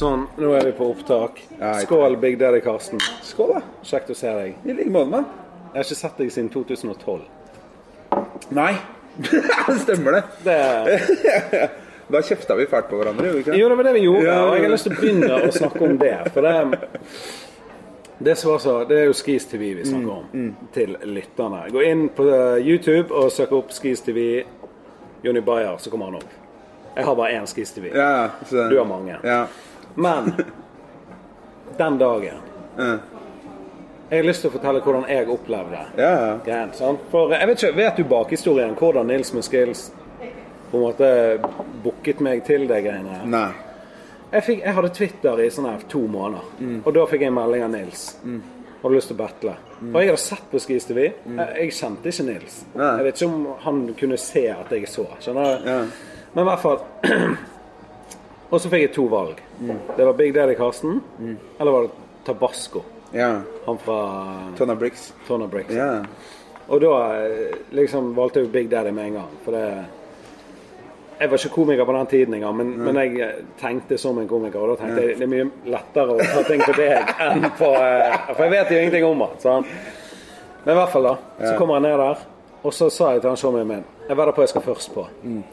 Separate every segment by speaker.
Speaker 1: Sånn, Nå er vi på opptak.
Speaker 2: Ja, jeg-
Speaker 1: Skål, Big Daddy Karsten.
Speaker 2: Skål, da.
Speaker 1: Kjekt å se deg.
Speaker 2: I like måte, mann.
Speaker 1: Jeg har ikke sett deg siden 2012.
Speaker 2: Nei. Stemmer det.
Speaker 1: Det,
Speaker 2: Da kjefta vi fælt på hverandre, gjorde vi ikke det?
Speaker 1: jo, det var det vi gjorde.
Speaker 2: Ja, ja, ja.
Speaker 1: og Jeg har lyst til å begynne å snakke om det. For det, det, som var så, det er jo Skis TV vi
Speaker 2: Mm,
Speaker 1: snakker om, til lytterne. Gå inn på eh, YouTube og søk opp Skis TV Jonny Bayer, så kommer han opp. Jeg har bare én Skis TV.
Speaker 2: Ja, ja, så-
Speaker 1: Du har mange.
Speaker 2: Ja.
Speaker 1: Men den dagen
Speaker 2: Ja,
Speaker 1: Jeg har lyst til å fortelle hvordan jeg opplevde
Speaker 2: ja. ja.
Speaker 1: greien. sant? For eh, jeg vet ikke, Vet du bakhistorien? Hvordan Nils Muskils på en måte booket meg til de greiene?
Speaker 2: Nei.
Speaker 1: Jeg, fikk, jeg hadde Twitter i sånn her to måneder,
Speaker 2: Mm.
Speaker 1: og da fikk jeg en melding av Nils. Hadde lyst til å battle.
Speaker 2: Mm.
Speaker 1: Og jeg hadde sett på Skis TV. Jeg, jeg kjente ikke Nils.
Speaker 2: Nei.
Speaker 1: Jeg vet ikke om han kunne se at jeg så. skjønner du?
Speaker 2: Ja.
Speaker 1: Men i hvert fall Og så fikk jeg to valg.
Speaker 2: Mm.
Speaker 1: Det var Big Daddy Karsten, eller var det Tabasco?
Speaker 2: Ja.
Speaker 1: Han fra
Speaker 2: Tonna Bricks.
Speaker 1: Tonna Bricks.
Speaker 2: Ja.
Speaker 1: Og da eh, liksom valgte jeg jo Big Daddy med en gang. For det Jeg var ikke komiker på den tiden engang, men, men jeg eh, tenkte som en komiker. Og da tenkte jeg det er mye lettere å ta ting på deg enn på eh, For jeg vet jo ingenting om det. sant? Men i hvert fall, da. Så kommer jeg ned der. Og så sa jeg til han showmanen min Jeg vedder på jeg skal først på.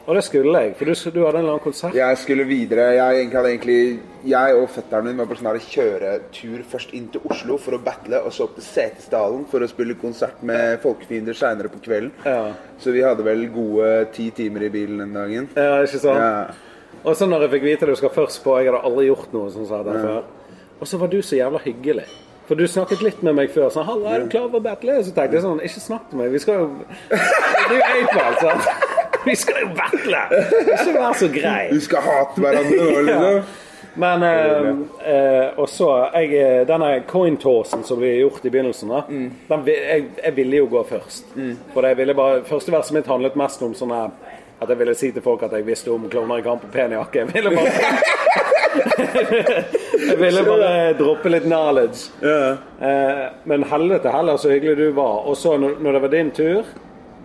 Speaker 1: Og det skulle jeg, for du, du hadde en eller annen konsert.
Speaker 2: Jeg skulle videre. Jeg egentlig hadde egentlig Jeg og fetteren min var på sånn her kjøretur først inn til Oslo for å battle, og så opp til Setesdalen for å spille konsert med Folkefiender seinere på kvelden.
Speaker 1: Ja.
Speaker 2: Så vi hadde vel gode ti timer i bilen den dagen.
Speaker 1: Ja, ikke sant?
Speaker 2: Ja.
Speaker 1: Og så når jeg fikk vite du skal først på, jeg hadde aldri gjort noe sånn som dette før. Og så var du så jævla hyggelig. For du snakket litt med meg før. Sånn, 'Halla, er du klar for å battle?' Så tenkte jeg sånn Ikke snakk til meg. Vi skal jo Det er jo Apel, sant? Vi skal jo battle! Ikke vær så grei.
Speaker 2: Vi skal hate hverandre nå, liksom.
Speaker 1: Men eh, eh, Og så jeg, eh, Denne cointorsen som ble gjort i begynnelsen, da, den, vi- jeg, jeg ville jo gå først. For jeg ville bare, første verset mitt handlet mest om sånn her at jeg ville si til folk at jeg visste om klovner i kamp og pen jakke. Jeg ville bare, jeg ville bare droppe litt knowledge. Eh, men helvete heller så hyggelig du var. Og så når, når det var din tur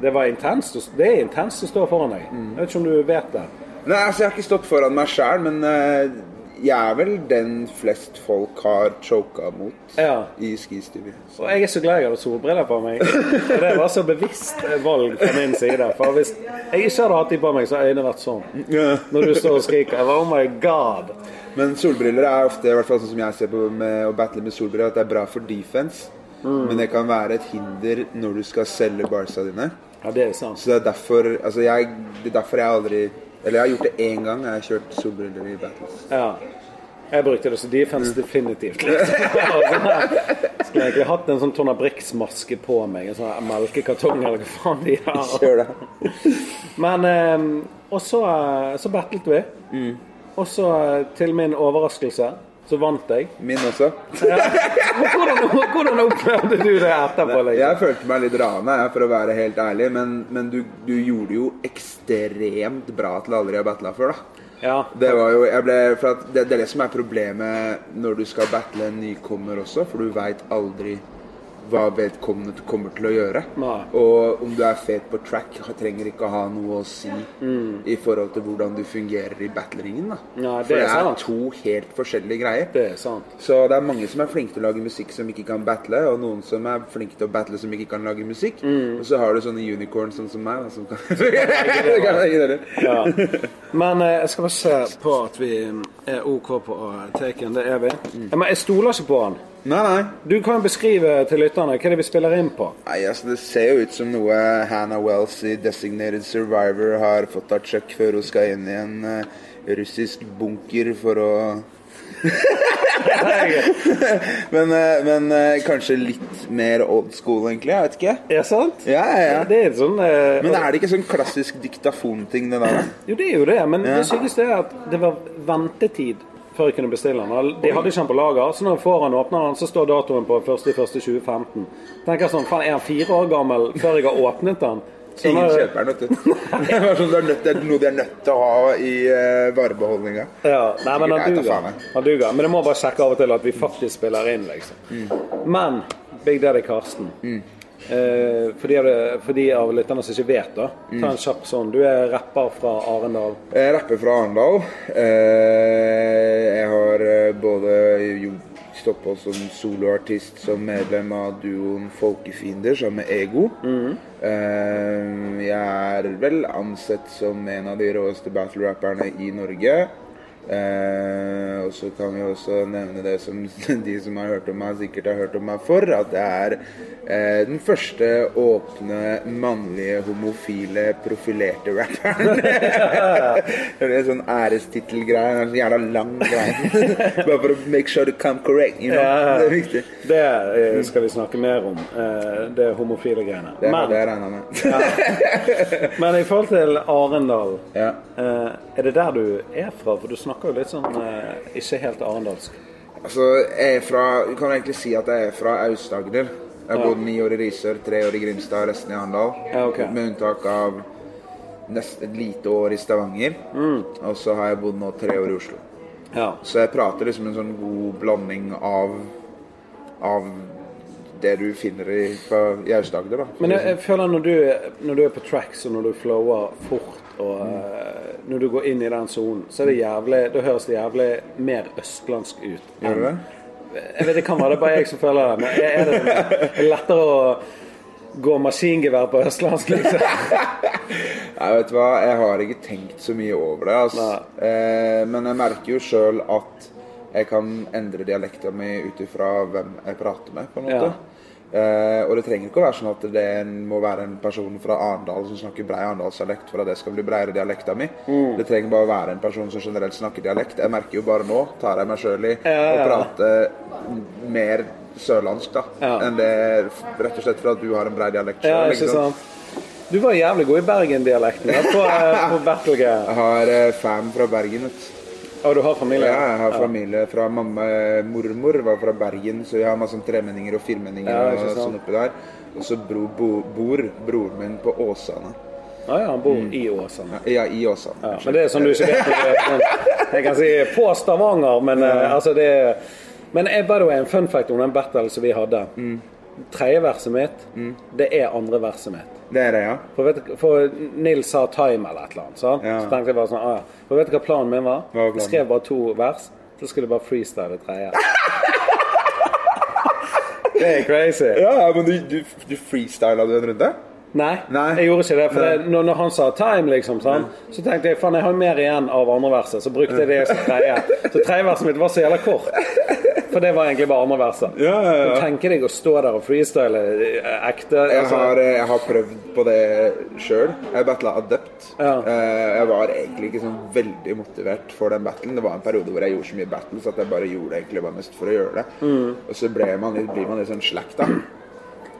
Speaker 1: Det var intenst. å- Det er intenst å stå foran deg. Jeg vet ikke om du vet det.
Speaker 2: Nei, altså, jeg har ikke stått foran meg sjæl, men eh, jeg er vel den flest folk har choka mot
Speaker 1: Ja.
Speaker 2: i skistudiet.
Speaker 1: Og jeg er så glad jeg hadde solbriller på meg. Og det var så bevisst valg fra min side. For hvis jeg ikke hadde hatt de på meg, så hadde øynene vært sånn.
Speaker 2: Ja.
Speaker 1: Når du står og skriker jeg bare, Oh my god!
Speaker 2: Men solbriller er ofte, i hvert fall sånn som jeg ser på med å battle med solbriller, at det er bra for defense. Men det kan være et hinder når du skal selge barsa dine.
Speaker 1: Ja, det er sant.
Speaker 2: Så det er derfor altså jeg, det er derfor jeg aldri Eller jeg har gjort det én gang. Jeg har kjørt solbriller i battles.
Speaker 1: Ja. Jeg brukte det så defense definitivt. Liksom. Skulle egentlig hatt en sånn Tonna Brix-maske på meg. En sånn melkekartong eller hva faen de har.
Speaker 2: Kjør det.
Speaker 1: Men eh, Og så, eh, så battlet vi. Og så, eh, til min overraskelse, så vant jeg.
Speaker 2: Min også.
Speaker 1: Men Hvordan, hvordan opplevde du det etterpå? Liksom?
Speaker 2: Jeg følte meg litt rana, jeg, for å være helt ærlig. Men, men du, du gjorde jo ekstremt bra til aldri å ha battla før, da.
Speaker 1: Ja.
Speaker 2: Det var jo, jeg ble, for at det, det er det som er problemet når du skal battle en nykommer også, for du veit aldri hva vedkommende t- kommer til å gjøre.
Speaker 1: Nei.
Speaker 2: Og om du er fet på track, ha- trenger ikke å ha noe å si i forhold til hvordan du fungerer i battleringen. da.
Speaker 1: Mm. Nei, det
Speaker 2: for
Speaker 1: er
Speaker 2: det er
Speaker 1: sant.
Speaker 2: to helt forskjellige greier.
Speaker 1: Det er sant.
Speaker 2: Så det er mange som er flinke til å lage musikk som ikke kan battle, og noen som er flinke til å battle som ikke kan lage musikk. Og så har du sånne unicorns sånn som meg, da, som kan, kan begge deler.
Speaker 1: Ja. Men eh, jeg skal bare se på at vi eh, er OK på taken. Det er vi.
Speaker 2: Mm.
Speaker 1: Ja, men jeg stoler ikke på han.
Speaker 2: Nei, nei.
Speaker 1: Du kan jo beskrive til lytterne hva det er vi spiller inn på.
Speaker 2: Nei, altså Det ser jo ut som noe Hannah Wells i Designated Survivor har fått av Chuck før hun skal inn i en eh, russisk bunker for å Men, eh, men eh, kanskje litt mer old school, egentlig. Jeg vet ikke.
Speaker 1: Er sant?
Speaker 2: Ja, ja, ja.
Speaker 1: Det er et sånn eh,
Speaker 2: Men er det ikke sånn klassisk diktafonting, det der? da?
Speaker 1: Jo, det er jo det, men det sykeste er at det var ventetid før jeg kunne bestille den. De hadde ikke den på lager, så når jeg får den åpner den, så står datoen på 1.1.2015. Tenker jeg sånn, faen, er han fire år gammel før jeg har åpnet den? Så
Speaker 2: Ingen
Speaker 1: når-
Speaker 2: kjøper den, vet du. Det var sånn, det er nødt- det er noe de er nødt til å ha i eh, varebeholdninga.
Speaker 1: Ja, nei, men han
Speaker 2: Sikkert jeg tar
Speaker 1: duger.
Speaker 2: faen meg.
Speaker 1: han duger. Men jeg
Speaker 2: Mm.
Speaker 1: må bare sjekke av og til at vi faktisk spiller inn, liksom. Men Big Daddy Karsten, Eh, for, de av, det- for de av lytterne som ikke vet, da. Ta
Speaker 2: Mm.
Speaker 1: en kjapp sånn. Du er rapper fra Arendal.
Speaker 2: Jeg rapper fra Arendal. Eh, Jeg har eh, både jo stått på som soloartist, som medlem av duoen Folkefiender sammen med Ego. Eh, Jeg er vel ansett som en av de råeste battle-rapperne i Norge. Eh, og så kan vi også nevne det som de som har hørt om meg, sikkert har hørt om meg for, at det er eh, den første åpne, mannlige, homofile, profilerte rapperen. det er en sånn ærestittelgreie. En sånn jævla lang greie. Bare for å make sure to come correct. You know?
Speaker 1: Ja.
Speaker 2: Det er viktig.
Speaker 1: Det eh, skal vi snakke mer om. eh, Det homofile greiene.
Speaker 2: Det var
Speaker 1: Men,
Speaker 2: det jeg regna med.
Speaker 1: men i forhold til Arendal
Speaker 2: ja.
Speaker 1: eh, Er det der du er fra? For du snakker jo litt sånn eh, ikke helt arendalsk.
Speaker 2: Altså, jeg er fra Du kan egentlig si at jeg er fra Aust-Agder. Jeg har bodd ni år i Risør, tre år i Grimstad, resten i Arendal.
Speaker 1: Ja, ok.
Speaker 2: Med unntak av nesten et lite år i Stavanger.
Speaker 1: Mm.
Speaker 2: Og så har jeg bodd nå tre år i Oslo.
Speaker 1: Ja.
Speaker 2: Så jeg prater liksom en sånn god blanding av Av det du finner i, fra- i Aust-Agder, da.
Speaker 1: Men jeg, jeg føler når du, når du er på tracks og når du flower fort og eh, når du går inn i den sonen, så er det jævlig Da høres det jævlig mer østlandsk ut.
Speaker 2: Gjør du det?
Speaker 1: Jeg vet det kan være det er bare jeg som føler det, men er- er det sånn- er det lettere å gå maskingevær på østlandsk, liksom?
Speaker 2: Nei, vet du hva, jeg har ikke tenkt så mye over det, altså. Eh, men jeg merker jo sjøl at jeg kan endre dialekta mi ut ifra hvem jeg prater med, på en måte.
Speaker 1: Ja.
Speaker 2: Eh, og det trenger ikke å være sånn at det må være en person fra Arendal som snakker brei arendalsdialekt for at det skal bli breiere dialekta mi.
Speaker 1: Mm.
Speaker 2: Det trenger bare å være en person som generelt snakker dialekt. Jeg merker jo bare nå, tar jeg meg sjøl i, å
Speaker 1: Ja, ja.
Speaker 2: prate mer sørlandsk, da.
Speaker 1: Ja.
Speaker 2: Enn det rett og slett for at du har en brei dialekt
Speaker 1: Ja,
Speaker 2: selv,
Speaker 1: ikke sant? Du var jævlig god i Bergen-dialekten ja, på, eh, på battle-greier.
Speaker 2: Jeg har eh, fan fra Bergen, vet du.
Speaker 1: Og du har familie?
Speaker 2: Ja, jeg har familie fra mamma eh, Mormor var fra Bergen, så jeg har masse tremenninger og firmenninger
Speaker 1: Ja, ikke
Speaker 2: og
Speaker 1: sant.
Speaker 2: sånn oppi der. Og så bro, bo, bor broren min på Åsane.
Speaker 1: Ah, ja, han bor i Åsane.
Speaker 2: Mm. Ja, i Åsane.
Speaker 1: Ja, men det er sånn du ikke vet når du er sånn, Jeg kan si på Stavanger, men eh, altså det er- Men eh, by the way, en fun fact om den battlen som vi hadde.
Speaker 2: Mm.
Speaker 1: Tredje verset mitt, det er andre verset mitt.
Speaker 2: Det er det, ja.
Speaker 1: For, vet, du- for Nils sa time eller et eller annet. Sant?
Speaker 2: Ja.
Speaker 1: Så tenkte jeg bare sånn ah, ja. For vet du hva planen min var?
Speaker 2: var planen?
Speaker 1: Jeg skrev bare to vers, så skulle jeg bare freestyle det tredje. det er crazy.
Speaker 2: Ja, ja, men du, du, du freestyla du en runde?
Speaker 1: Nei,
Speaker 2: Nei.
Speaker 1: jeg gjorde ikke det. For
Speaker 2: Nei. Mm.
Speaker 1: det, når, når han sa 'time', liksom, sånn, så tenkte jeg faen, jeg har jo mer igjen av andre verset. Så brukte jeg det som tredje. Så tredje verset mitt var så jævla kort. For det var egentlig bare andre verset.
Speaker 2: Ja, ja, ja.
Speaker 1: Men Tenker deg å stå der og freestyle eh, ekte
Speaker 2: Jeg
Speaker 1: altså,
Speaker 2: har, jeg har prøvd på det sjøl. Jeg battla Adept.
Speaker 1: Ja.
Speaker 2: Eh, Jeg var egentlig ikke sånn veldig motivert for den battlen. Det var en periode hvor jeg gjorde så mye battles at jeg bare gjorde det egentlig bare mest for å gjøre det.
Speaker 1: Mm.
Speaker 2: Og så ble man litt, blir man litt sånn slack, da.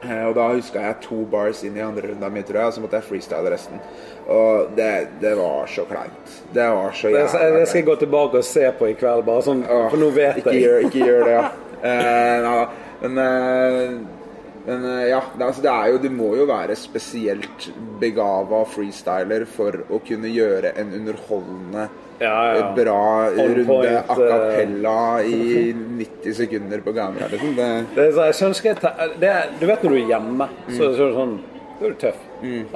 Speaker 2: Eh, Og da huska jeg to bars inn i andre runda mi, tror jeg, og så måtte jeg freestyle resten. Og det, det var så kleint. Det var så
Speaker 1: det,
Speaker 2: jævla
Speaker 1: det skal altså, jeg gå tilbake og se på i kveld, bare sånn,
Speaker 2: Åh,
Speaker 1: for nå vet
Speaker 2: ikke
Speaker 1: jeg.
Speaker 2: Gjør, ikke gjør det, ja. Eh, nei da. Men, eh, men eh, ja, det, altså, det er jo, du må jo være spesielt begava freestyler for å kunne gjøre en underholdende,
Speaker 1: Ja, ja.
Speaker 2: eh, bra
Speaker 1: On point,
Speaker 2: runde
Speaker 1: eh.
Speaker 2: a cappella i 90 sekunder på kamera. Liksom. Det,
Speaker 1: Det er, så, jeg skjønner ikke jeg ta- det er, Du vet når du er hjemme, så, så er det sånn Da er du tøff.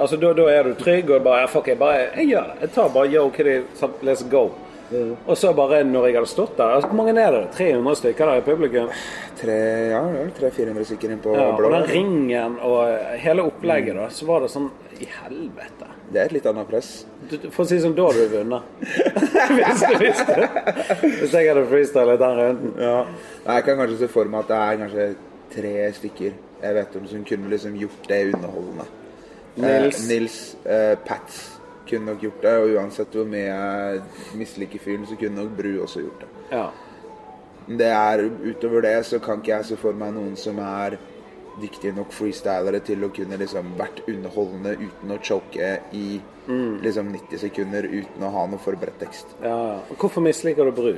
Speaker 1: Altså, da, da er du trygg og bare ja, Fuck, jeg bare Jeg gjør det. Jeg tar bare yo, hva det er, sånn, let's go. Og så bare når jeg hadde stått der altså, Hvor mange er det? 300 stykker der i publikum?
Speaker 2: tre, ja, det er vel 300-400 stykker inn på
Speaker 1: Ja, og
Speaker 2: blå.
Speaker 1: den ringen og eh, hele opplegget, da, så var det sånn I helvete.
Speaker 2: Det er et litt annet press.
Speaker 1: Du- du- For å si det sånn, da hadde du vunnet. hvis du visste Hvis jeg hadde freestylet den runden.
Speaker 2: Nei, Jeg kan kanskje se for meg at det er kanskje tre stykker jeg vet om som kunne liksom gjort det underholdende.
Speaker 1: Nils.
Speaker 2: Eh, Nils eh, Pats kunne nok gjort det, og uansett hvor mye jeg misliker fyren, så kunne nok Bru også gjort det.
Speaker 1: Ja.
Speaker 2: Men det er, utover det så kan ikke jeg se for meg noen som er dyktige nok freestylere til å kunne liksom vært underholdende uten å choke i liksom 90 sekunder uten å ha noe forberedt tekst.
Speaker 1: ja. ja. Og Hvorfor misliker du Bru?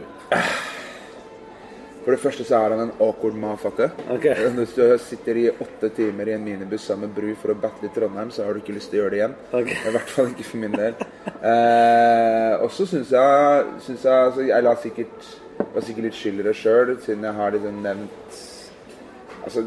Speaker 2: For det første så er han en awkward motherfucker.
Speaker 1: Ok.
Speaker 2: Hvis du sitter i åtte timer i en minibuss sammen med Bru for å battle i Trondheim, så har du ikke lyst til å gjøre det igjen.
Speaker 1: Ok.
Speaker 2: I hvert fall ikke for min del. Eh, og så syns jeg, synes jeg altså, Jeg la sikkert, var sikkert litt skyld i det sjøl, siden jeg har liksom nevnt Altså,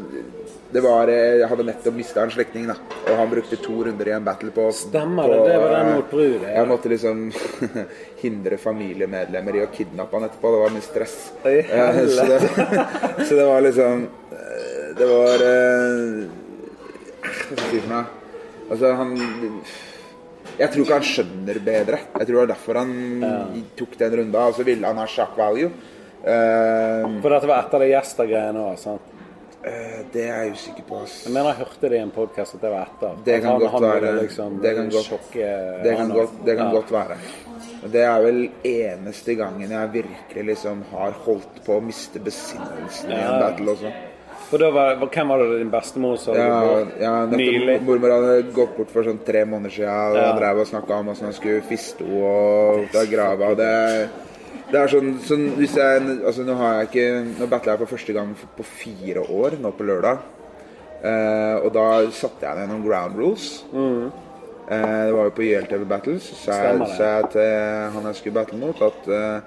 Speaker 2: det var, eh, jeg hadde nettopp mista en slektning, da. Og han brukte to runder i en battle på
Speaker 1: Stemmer
Speaker 2: på,
Speaker 1: det, det var den
Speaker 2: eh,
Speaker 1: mot Brud, ja.
Speaker 2: Jeg måtte liksom hindre familiemedlemmer i å kidnappe han etterpå. Det var mye stress.
Speaker 1: Oi,
Speaker 2: Eh, så, det, så det var liksom eh, Det var eh, Hva skal jeg si for noe? Altså, han jeg tror ikke han skjønner bedre. Jeg tror det var derfor han tok den runda. Og så ville han ha sjakk value. Eh,
Speaker 1: For dette var etter det Gjester-greiene òg, sant?
Speaker 2: eh, det er jeg usikker på. ass.
Speaker 1: Jeg mener jeg hørte det i en podkast at det var etter.
Speaker 2: Det kan
Speaker 1: At
Speaker 2: godt
Speaker 1: ville
Speaker 2: være.
Speaker 1: liksom
Speaker 2: Det kan godt-
Speaker 1: sjokke
Speaker 2: Det kan,
Speaker 1: han
Speaker 2: godt,
Speaker 1: også.
Speaker 2: det kan
Speaker 1: Ja.
Speaker 2: godt være. Og Det er vel eneste gangen jeg virkelig liksom har holdt på å miste besinnelsen i en
Speaker 1: Ja.
Speaker 2: battle også.
Speaker 1: For da var, var- hvem var det din bestemor som
Speaker 2: Ja, ja,
Speaker 1: Nylig.
Speaker 2: nettopp, mormor hadde gått bort for sånn tre måneder siden og
Speaker 1: Ja.
Speaker 2: drev og snakka om åssen han skulle fiste henne og ta grava. Det, er- det er sånn, sånn hvis jeg, altså, Nå har jeg ikke Nå battla jeg for første gang f- på fire år, nå på lørdag. Eh, og da satte jeg ned noen ground rules. Eh, det var jo på YLTV Battles. Så sa jeg,
Speaker 1: Mm. Stemmer det.
Speaker 2: sa jeg til eh, han jeg skulle battle mot, at eh,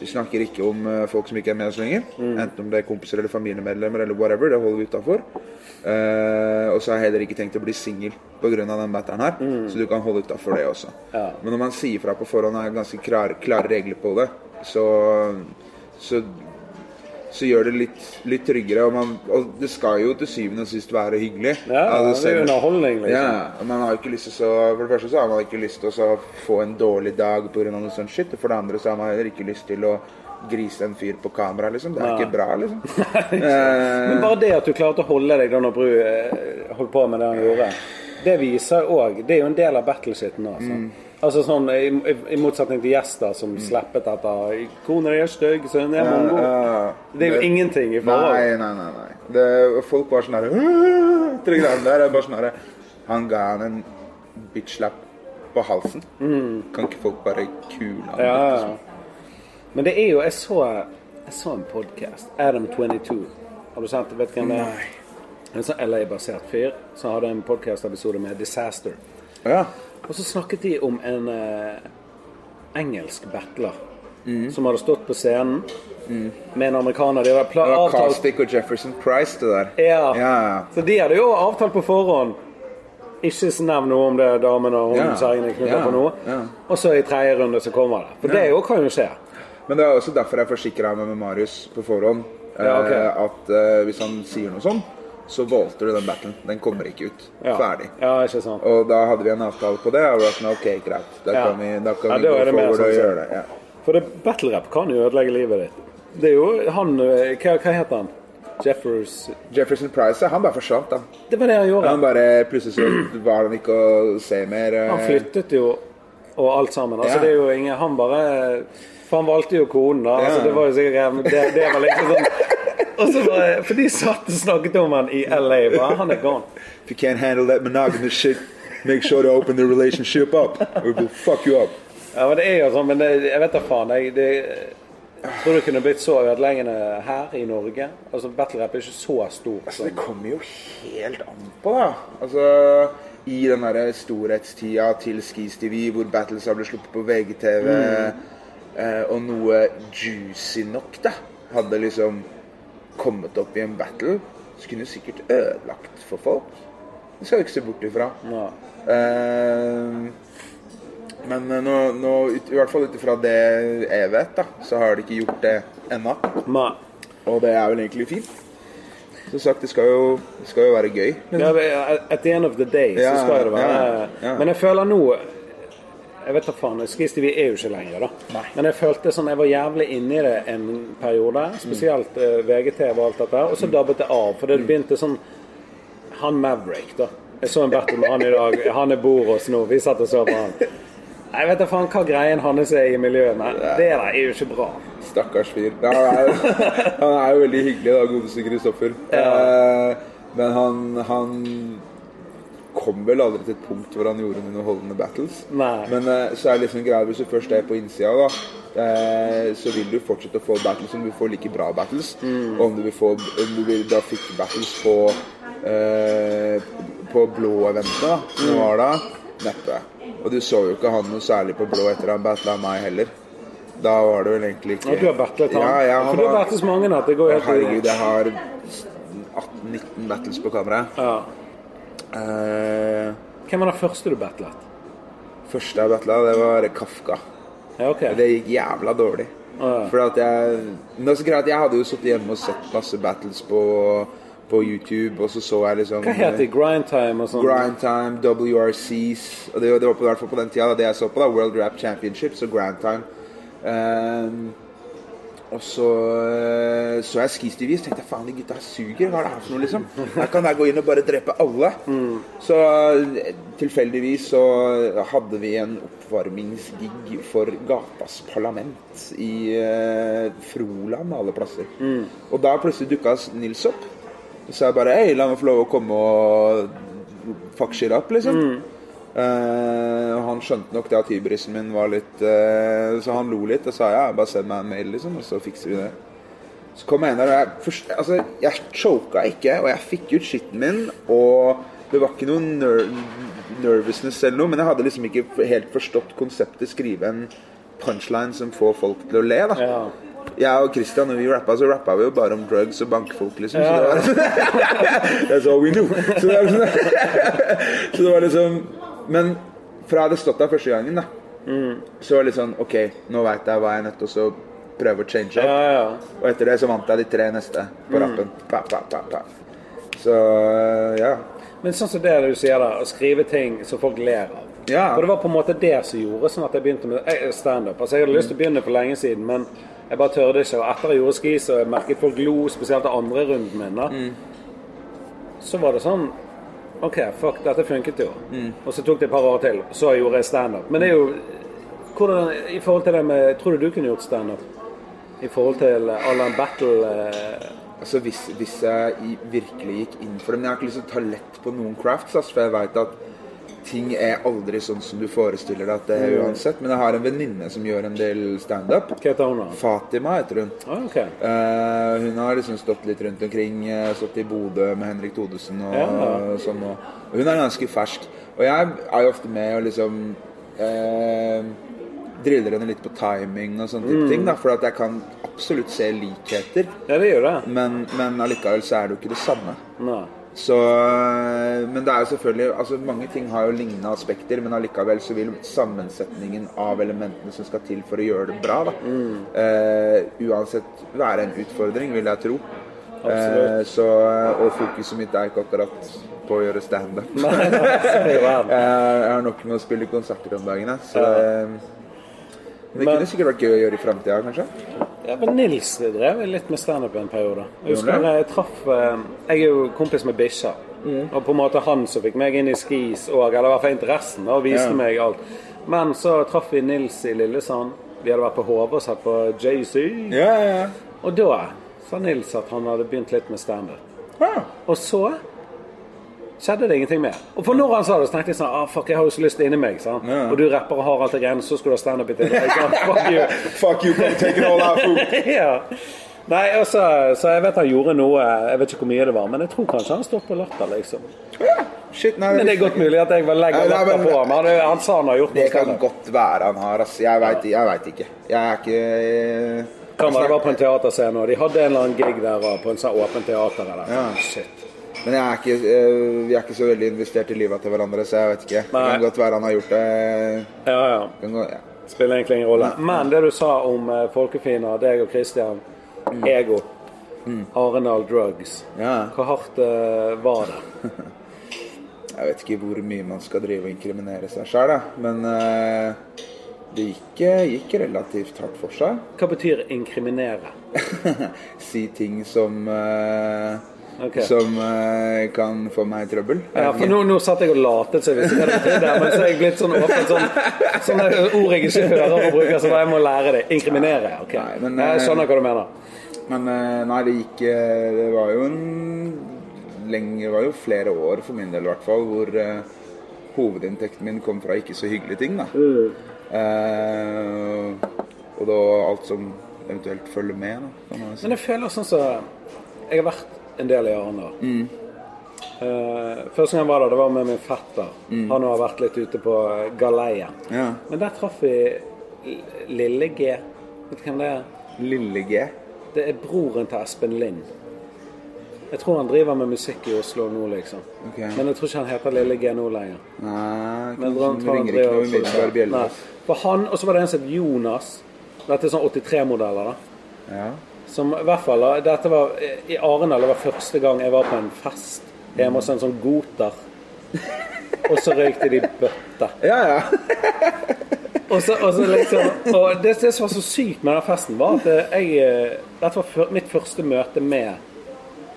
Speaker 2: vi snakker ikke om eh, folk som ikke er med oss lenger.
Speaker 1: Mm.
Speaker 2: Enten om det er kompiser eller familiemedlemmer eller whatever. Det holder vi utafor. og så har jeg heller ikke tenkt å bli singel pga. den batteren her. Så du kan holde utafor det også.
Speaker 1: Mm. Ja.
Speaker 2: Men når man sier fra på forhånd og har ganske klare, klare regler på det, så, så så gjør det litt, litt tryggere. Og, man, og det skal jo til syvende og sist være hyggelig.
Speaker 1: Ja,
Speaker 2: Altså,
Speaker 1: det er jo
Speaker 2: selv-
Speaker 1: underholdning, liksom.
Speaker 2: Ja, og man har jo ikke lyst til så, For det første så har man ikke lyst til å så få en dårlig dag pga. noe sånt shit. Og for det andre så har man heller ikke lyst til å grise en fyr på kamera, liksom. Det er ikke bra, liksom. eh,
Speaker 1: Men bare det at du klarte å holde deg da når Bru eh, holdt på med det han gjorde, det viser òg Det er jo en del av battleshiten nå. sant?
Speaker 2: Mm.
Speaker 1: Altså sånn, i, i, I motsetning til gjester som slappet etter 'Kona di er stygg, sønnen er mongo'.
Speaker 2: ja.
Speaker 1: det er jo
Speaker 2: Det-
Speaker 1: ingenting i forhold.
Speaker 2: Nei, nei, nei. nei. Det, folk var sånn her «Åh!» Etter de greiene der. jeg Bare sånn her Han ga han en bitch-slap på halsen. Kan ikke folk bare kule han?
Speaker 1: Ja,
Speaker 2: litt,
Speaker 1: Mm. ja. Men det er jo Jeg så, jeg så en podkast. Adam22. Har du sett det? Vet du hvem det er? En sånn LA-basert fyr som hadde en podkastepisode med Disaster.
Speaker 2: liksom? ja.
Speaker 1: Og så snakket de om en eh, engelsk battler
Speaker 2: Mm.
Speaker 1: som hadde stått på scenen med en amerikaner. De hadde pla-
Speaker 2: Det var
Speaker 1: avtalt
Speaker 2: Caustic og Jefferson Price, det der.
Speaker 1: ja.
Speaker 2: ja.
Speaker 1: Så de hadde jo avtalt på forhånd. Ikke så nevn noe om det damen og hun
Speaker 2: Ja.
Speaker 1: sa ingen knytter
Speaker 2: Ja.
Speaker 1: på noe.
Speaker 2: Ja.
Speaker 1: Og så i tredje runde så kommer det. For det jo kan jo skje.
Speaker 2: Men det er også derfor jeg forsikra meg med Marius på forhånd eh,
Speaker 1: Ja, ok.
Speaker 2: at eh, hvis han sier noe sånn, så valgte du den battlen. Den kommer ikke ut.
Speaker 1: Ja.
Speaker 2: Ferdig.
Speaker 1: Ja, ikke sant.
Speaker 2: Og da hadde vi en avtale på det. Og vi var sånn, ok, greit. Da
Speaker 1: Ja.
Speaker 2: kan vi, da kan
Speaker 1: Ja,
Speaker 2: vi
Speaker 1: da
Speaker 2: gå
Speaker 1: er det mer
Speaker 2: forward
Speaker 1: sånn
Speaker 2: og
Speaker 1: sett.
Speaker 2: gjøre det. Ja.
Speaker 1: For det, battle rap kan jo ødelegge livet ditt. Det er jo han eh, Hva, hva heter han? Jeffers
Speaker 2: Jefferson Price han bare forsvant, da.
Speaker 1: Det var det han gjorde.
Speaker 2: Han bare plutselig så var han ikke å se mer. eh.
Speaker 1: Han flyttet jo og alt sammen. Altså,
Speaker 2: Ja.
Speaker 1: det er jo ingen Han bare For han valgte jo konen, da. Altså,
Speaker 2: Ja.
Speaker 1: det var jo sikkert Det, det var liksom sånn og så bare, For de satt og snakket om han i LA. Bare, han er gone.
Speaker 2: If you can't handle that monogamous shit, make sure to open the relationship up. Or we'll fuck you up.
Speaker 1: Ja, men det er jo sånn, men det, jeg vet da faen. Jeg det, jeg tror det kunne blitt så ødeleggende her i Norge. Altså, battle rap er ikke så stort.
Speaker 2: Så Altså, det
Speaker 1: Sånn.
Speaker 2: kommer jo helt an på, da. Altså, I den derre storhetstida til Skis TV, hvor battles har blitt sluppet på VGTV, eh, og noe juicy nok, da, hadde liksom kommet opp i en battle, så kunne det sikkert ødelagt for folk. Det skal du ikke se bort ifra.
Speaker 1: Ja.
Speaker 2: Eh, men eh, nå, nå ut, i hvert fall ut ifra det jeg vet, da, så har de ikke gjort det ennå.
Speaker 1: Men,
Speaker 2: Og det er vel egentlig fint. Som sagt, det skal jo, det skal jo være gøy.
Speaker 1: Ja, men at the end of the day
Speaker 2: Mm. Ja,
Speaker 1: så skal det være
Speaker 2: ja, ja.
Speaker 1: Men jeg føler nå Jeg vet da faen, Skis TV er jo ikke lenger, da.
Speaker 2: Nei.
Speaker 1: Men jeg følte sånn Jeg var jævlig inni det en periode. Spesielt eh, VGTV og alt dette. Og
Speaker 2: Mm.
Speaker 1: så dabbet det av. For det begynte sånn Han Maverick, da. Jeg så en battle med han i dag. Han er Boros nå. Vi satt og så på han. Jeg vet da faen hva greien hans er i miljøet, men det der er jo ikke bra.
Speaker 2: Stakkars fyr. Ja, Han er, han er jo veldig hyggelig, da, godeste Kristoffer. Eh, men han, han kom vel aldri til et punkt hvor han gjorde noen underholdende battles.
Speaker 1: Nei.
Speaker 2: Men eh, så er det liksom greia hvis du først er på innsida, da, eh, så vil du fortsette å få battles om du får like bra battles. Og om du vil få om du vil, da fikk battles på eh, på blå eventet, da, som var da, neppe. Og du så jo ikke han noe særlig på blå etter han battla meg heller. Da var det vel egentlig ikke
Speaker 1: Og du har battlet han.
Speaker 2: Ja, ja,
Speaker 1: For
Speaker 2: han
Speaker 1: du har
Speaker 2: var-
Speaker 1: battlet så mange at det går
Speaker 2: Å,
Speaker 1: helt
Speaker 2: Herregud, jeg har 18-19 battles på kamera.
Speaker 1: Ja.
Speaker 2: Eh,
Speaker 1: Hvem var den første du battlet?
Speaker 2: første jeg battla, det var Kafka.
Speaker 1: Ja, ok.
Speaker 2: Det gikk jævla dårlig.
Speaker 1: Ja.
Speaker 2: For at jeg Men det er så greit at jeg hadde jo sittet hjemme og sett masse battles på, på YouTube, og så så jeg liksom
Speaker 1: Hva het de? Grindtime og sånn?
Speaker 2: Grindtime, WRCs og Det, det var på, i hvert fall på den tida da, det jeg så på, da, World Rap Championships og Grindtime. Ehm, og så eh, så jeg skistivis og tenkte faen, de gutta her suger. Hva er det her for noe, liksom? Her kan jeg gå inn og bare drepe alle. Så eh, tilfeldigvis så hadde vi en oppvarmingsgig for Gatas parlament i eh, Froland, alle plasser. Og da plutselig dukka Nils opp. Så sa jeg bare hei, la meg få lov å komme og fuck shit up, liksom. Eh, og han skjønte nok det at hybrisen min var litt eh, Så han lo litt og sa ja, bare send meg en mail, liksom, og så fikser vi det. Så kom jeg inn der, og jeg, først, altså, jeg choka ikke, og jeg fikk ut skitten min. Og det var ikke noe ner nervousness eller noe, men jeg hadde liksom ikke f- helt forstått konseptet skrive en punchline som får folk til å le. da
Speaker 1: Ja.
Speaker 2: Jeg og Christian, når vi rappa, så rappa vi jo bare om drugs og bankefolk, liksom.
Speaker 1: Ja, ja.
Speaker 2: Så det var That's all we knew. Så det var liksom, så det var liksom Men fra jeg hadde stått der første gangen, da,
Speaker 1: Mm.
Speaker 2: så var det litt sånn OK, nå veit jeg hva jeg er nødt til å prøve å change up.
Speaker 1: Ja, ja.
Speaker 2: Og etter det så vant jeg de tre neste på rappen. Pa, pa, pa, pa. Så eh, ja.
Speaker 1: Men sånn som det du sier der, å skrive ting som folk ler av.
Speaker 2: Ja.
Speaker 1: For det var på en måte det som gjorde sånn at jeg begynte med eh, standup. Altså, jeg hadde lyst til å begynne for lenge siden, men jeg bare tørde ikke. Og etter jeg gjorde ski, så jeg merket folk lo, spesielt av andre runden min. da. Så var det sånn OK, fuck, dette funket jo. Og så tok det et par år til, så gjorde jeg standup. Men det er jo hvordan, I forhold til det med Tror du du kunne gjort standup? I forhold til eh, all den battle eh,
Speaker 2: Altså hvis, hvis jeg i, virkelig gikk inn for det Men jeg har ikke lyst til å ta lett på noen crafts, ass, for jeg veit at ting er aldri sånn som du forestiller deg at det er uansett. Men jeg har en venninne som gjør en del standup.
Speaker 1: Hva heter hun da?
Speaker 2: Fatima heter hun.
Speaker 1: Ah, ok.
Speaker 2: Eh, hun har liksom stått litt rundt omkring. eh, stått i Bodø med Henrik Thodesen og
Speaker 1: Ja.
Speaker 2: sånn. Og, og hun er ganske fersk. Og jeg er jo ofte med og liksom eh, driller henne litt på timing og sånne type ting. da For at jeg kan absolutt se likheter,
Speaker 1: Ja, det gjør det.
Speaker 2: men, men allikevel så er det jo ikke det samme.
Speaker 1: Nei.
Speaker 2: Så, øh, men det er jo selvfølgelig altså Mange ting har jo lignende aspekter, men allikevel så vil sammensetningen av elementene som skal til for å gjøre det bra, da, eh, uansett være en utfordring, vil jeg tro.
Speaker 1: Absolutt.
Speaker 2: Eh, så, og fokuset mitt er ikke akkurat på å gjøre standup.
Speaker 1: Nei, nei, sånn er jo verden.
Speaker 2: Jeg jeg har nok med å spille konserter om dagen, jeg. Så
Speaker 1: Ja.
Speaker 2: eh, men det
Speaker 1: Men-
Speaker 2: kunne sikkert vært gøy å gjøre i framtida, kanskje.
Speaker 1: Ja, men Nils drev litt med standup en periode. Jeg
Speaker 2: Gjorde
Speaker 1: husker
Speaker 2: han det?
Speaker 1: jeg traff eh, Jeg er jo kompis med Bisha.
Speaker 2: Mm.
Speaker 1: Og på en måte han som fikk meg inn i skis og eller i hvert fall interessen, og viste
Speaker 2: Ja.
Speaker 1: meg alt. Men så traff vi Nils i Lillesand. Vi hadde vært på HV og sett på JC.
Speaker 2: Ja, ja, ja.
Speaker 1: Og da sa Nils at han hadde begynt litt med standup.
Speaker 2: Ah,
Speaker 1: Og så skjedde det ingenting mer. Og for når han sa det, så tenkte jeg sånn ah, Fuck, jeg har jo så lyst inni meg. Sånn.
Speaker 2: Ja.
Speaker 1: Og du rapper og har alt det greiene, så skulle du ha standup i tillegg. Sånn, fuck you.
Speaker 2: Fuck you, come take it all out, fool.
Speaker 1: ja. Nei, altså, så jeg vet han gjorde noe, jeg vet ikke hvor mye det var, men jeg tror kanskje han står på latter, liksom.
Speaker 2: Ja, Shit, nei,
Speaker 1: Men det er godt mulig at jeg var legger
Speaker 2: Nei, nei,
Speaker 1: latter
Speaker 2: men-
Speaker 1: på ham. Han, han sa han har gjort noe
Speaker 2: Det kan
Speaker 1: standup.
Speaker 2: godt være han har, ass. Jeg veit jeg vet ikke. eh, Jeg er ikke
Speaker 1: Kan være det var på en teaterscene, og de hadde en eller annen gig der og på en sånn åpen teater eller
Speaker 2: Ja.
Speaker 1: Shit.
Speaker 2: Men jeg er ikke, eh, vi er ikke så veldig investert i livet til hverandre, så jeg vet ikke. Det
Speaker 1: Nei.
Speaker 2: kan godt være han har gjort det. eh,
Speaker 1: Ja, ja.
Speaker 2: Kan gå, ja.
Speaker 1: Spiller egentlig ingen rolle.
Speaker 2: Mm.
Speaker 1: Men det du sa om eh, folkefiender, deg og Christian, ego, Arendal Drugs,
Speaker 2: Mm. Ja.
Speaker 1: hvor hardt eh, var det?
Speaker 2: Jeg vet ikke hvor mye man skal drive og inkriminere seg sjøl, men eh, det gikk, eh, gikk relativt hardt for seg.
Speaker 1: Hva betyr inkriminere?
Speaker 2: si ting som eh,
Speaker 1: Ok.
Speaker 2: Som eh, kan få meg i trøbbel.
Speaker 1: Ja, for nå, nå satt jeg og latet så jeg visste hva det betydde, men så er jeg blitt sånn åpen sånn, sånne ord jeg ikke hører og bruker, så bare jeg må lære det. Inkriminere, ok.
Speaker 2: Nei, men, eh,
Speaker 1: Nei, jeg skjønner hva du mener.
Speaker 2: Men eh, nei, det gikk eh, Det var jo en lenge, Det var jo flere år for min del, i hvert fall, hvor eh, hovedinntekten min kom fra ikke så hyggelige ting, da. Eh, og da alt som eventuelt følger med, da. Kan man jo si.
Speaker 1: Men jeg føler sånn som Jeg har vært en del i Arendal.
Speaker 2: Mm.
Speaker 1: Eh, første gang jeg var der, det var med min fetter.
Speaker 2: Mm.
Speaker 1: Han har vært litt ute på eh, galeien.
Speaker 2: Ja.
Speaker 1: Men der traff vi L- Lille G. Vet du hvem det er?
Speaker 2: Lille G.
Speaker 1: Det er broren til Espen Lind. Jeg tror han driver med musikk i Oslo nå, liksom.
Speaker 2: Ok.
Speaker 1: Men jeg tror ikke han heter Lille GNO lenger.
Speaker 2: Nei,
Speaker 1: Men
Speaker 2: kanskje
Speaker 1: han
Speaker 2: den
Speaker 1: tar
Speaker 2: ringer ikke noe
Speaker 1: Andreas og-
Speaker 2: umiddelbar bjelle.
Speaker 1: Nei. For han, og så var det en som het Jonas. Dette er sånn 83-modeller, da.
Speaker 2: Ja.
Speaker 1: Som i hvert fall da, Dette var eh, i Arendal. Det var første gang jeg var på en fest hjemme hos en sånn goter. Og så røykte de bøtte.
Speaker 2: ja, ja.
Speaker 1: Og, så, og, så liksom, og det, det som var så sykt med den festen, var at jeg eh, Dette var fyr- mitt første møte med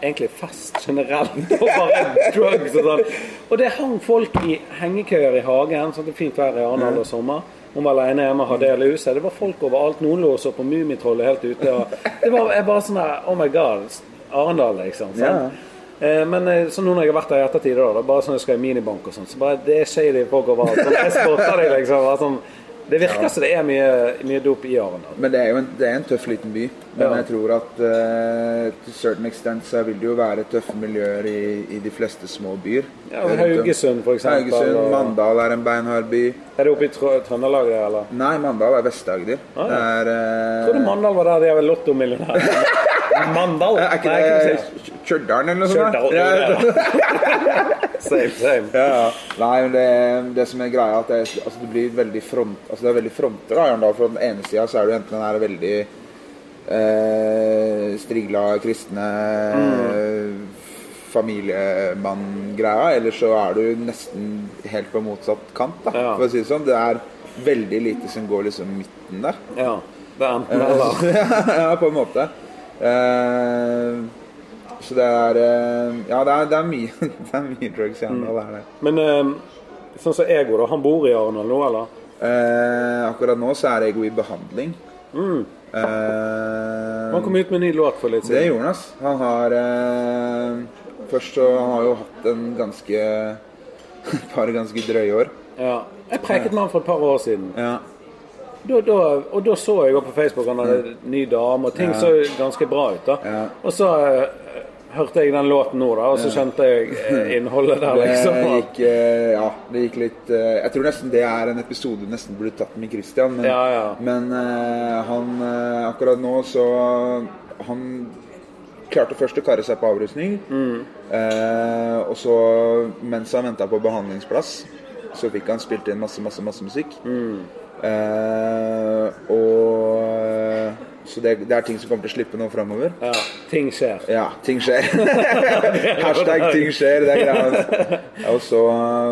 Speaker 1: egentlig fest generelt, og bare drugs og sånn. Og det hang folk i hengekøyer i hagen, sånn at det er fint vær i Arendal og sommer. Hun var alene hjemme og hadde hele huset. Det var folk overalt. Noen lå og så på Mummitrollet helt ute. Og det var jeg bare sånn her Oh my God. Arendal, liksom. sant? Eh, Men eh, så nå når jeg har vært der i ettertid, da, da bare sånn jeg skal i minibank og sånn, så bare det er shady folk overalt. Sånn, jeg spotter deg, liksom. Bare sånn, det virker som det er mye, mye dop i Arendal.
Speaker 2: Men det er jo en, det er en tøff liten by. Men
Speaker 1: Ja.
Speaker 2: jeg tror at eh, til certain extent så vil det jo være tøffe miljøer i, i de fleste små byer.
Speaker 1: Ja, men Haugesund, for eksempel,
Speaker 2: Haugesund,
Speaker 1: og-
Speaker 2: Mandal er en beinhard by.
Speaker 1: Er det oppe i Trø- Trøndelag, det, eller?
Speaker 2: Nei, Mandal er Vest-Agder.
Speaker 1: Ah,
Speaker 2: Det
Speaker 1: ja.
Speaker 2: er
Speaker 1: Jeg trodde
Speaker 2: eh,
Speaker 1: Mandal var der de er vel lottomillionærer. Mandal?
Speaker 2: Er ikke
Speaker 1: Nei, hva sier jeg?
Speaker 2: det Stjørdal eller noe sånt? da?
Speaker 1: Stjørdal, jo, det Same, same.
Speaker 2: Ja, ja. Nei, men det, det som er greia, er at det, altså, det blir veldig front... Altså, det er veldig fronter, da, Arendal. For på den ene sida så er du enten den her veldig eh, strigla kristne
Speaker 1: Mm.
Speaker 2: familiemann-greia, eller så er du nesten helt på motsatt kant, da,
Speaker 1: Ja.
Speaker 2: for å si det sånn. Det er veldig lite som går liksom midten der.
Speaker 1: Ja. Det er enten eller.
Speaker 2: ja, på en måte. Eh, så det er eh, Ja, det er, det er mye Det er mye drugs i Arendal, det er det.
Speaker 1: Men eh, sånn som Ego, da. Han bor i Arendal nå, eller?
Speaker 2: Eh, akkurat nå så er Ego i behandling. Eh,
Speaker 1: Han kom ut med en ny låt for litt
Speaker 2: det
Speaker 1: siden.
Speaker 2: gjorde han, ass. Han har eh, Først så Han har jo hatt en ganske Et par ganske drøye år.
Speaker 1: Ja. Jeg preket med han for et par år siden.
Speaker 2: Ja.
Speaker 1: da, da, og da så jeg jo på Facebook han hadde ny dame, og ting så ganske bra ut. da
Speaker 2: Mm. Ja.
Speaker 1: Og så eh, hørte jeg den låten nå, da, og så skjønte jeg eh, innholdet der,
Speaker 2: Det
Speaker 1: liksom.
Speaker 2: gikk eh, Ja, det gikk litt eh, Jeg tror nesten det er en episode du nesten burde tatt med Christian. Men,
Speaker 1: Ja, ja.
Speaker 2: men eh, han eh, akkurat nå så Han klarte først å karre seg på avrusning.
Speaker 1: Mm.
Speaker 2: Eh, og så, mens han venta på behandlingsplass, så fikk han spilt inn masse, masse, masse musikk.
Speaker 1: Mm.
Speaker 2: Eh, og eh, Så det, det er ting som kommer til å slippe nå framover.
Speaker 1: Ja, ting skjer.
Speaker 2: Ja, ting skjer. Hashtag 'ting skjer', det er greia. hans. Og så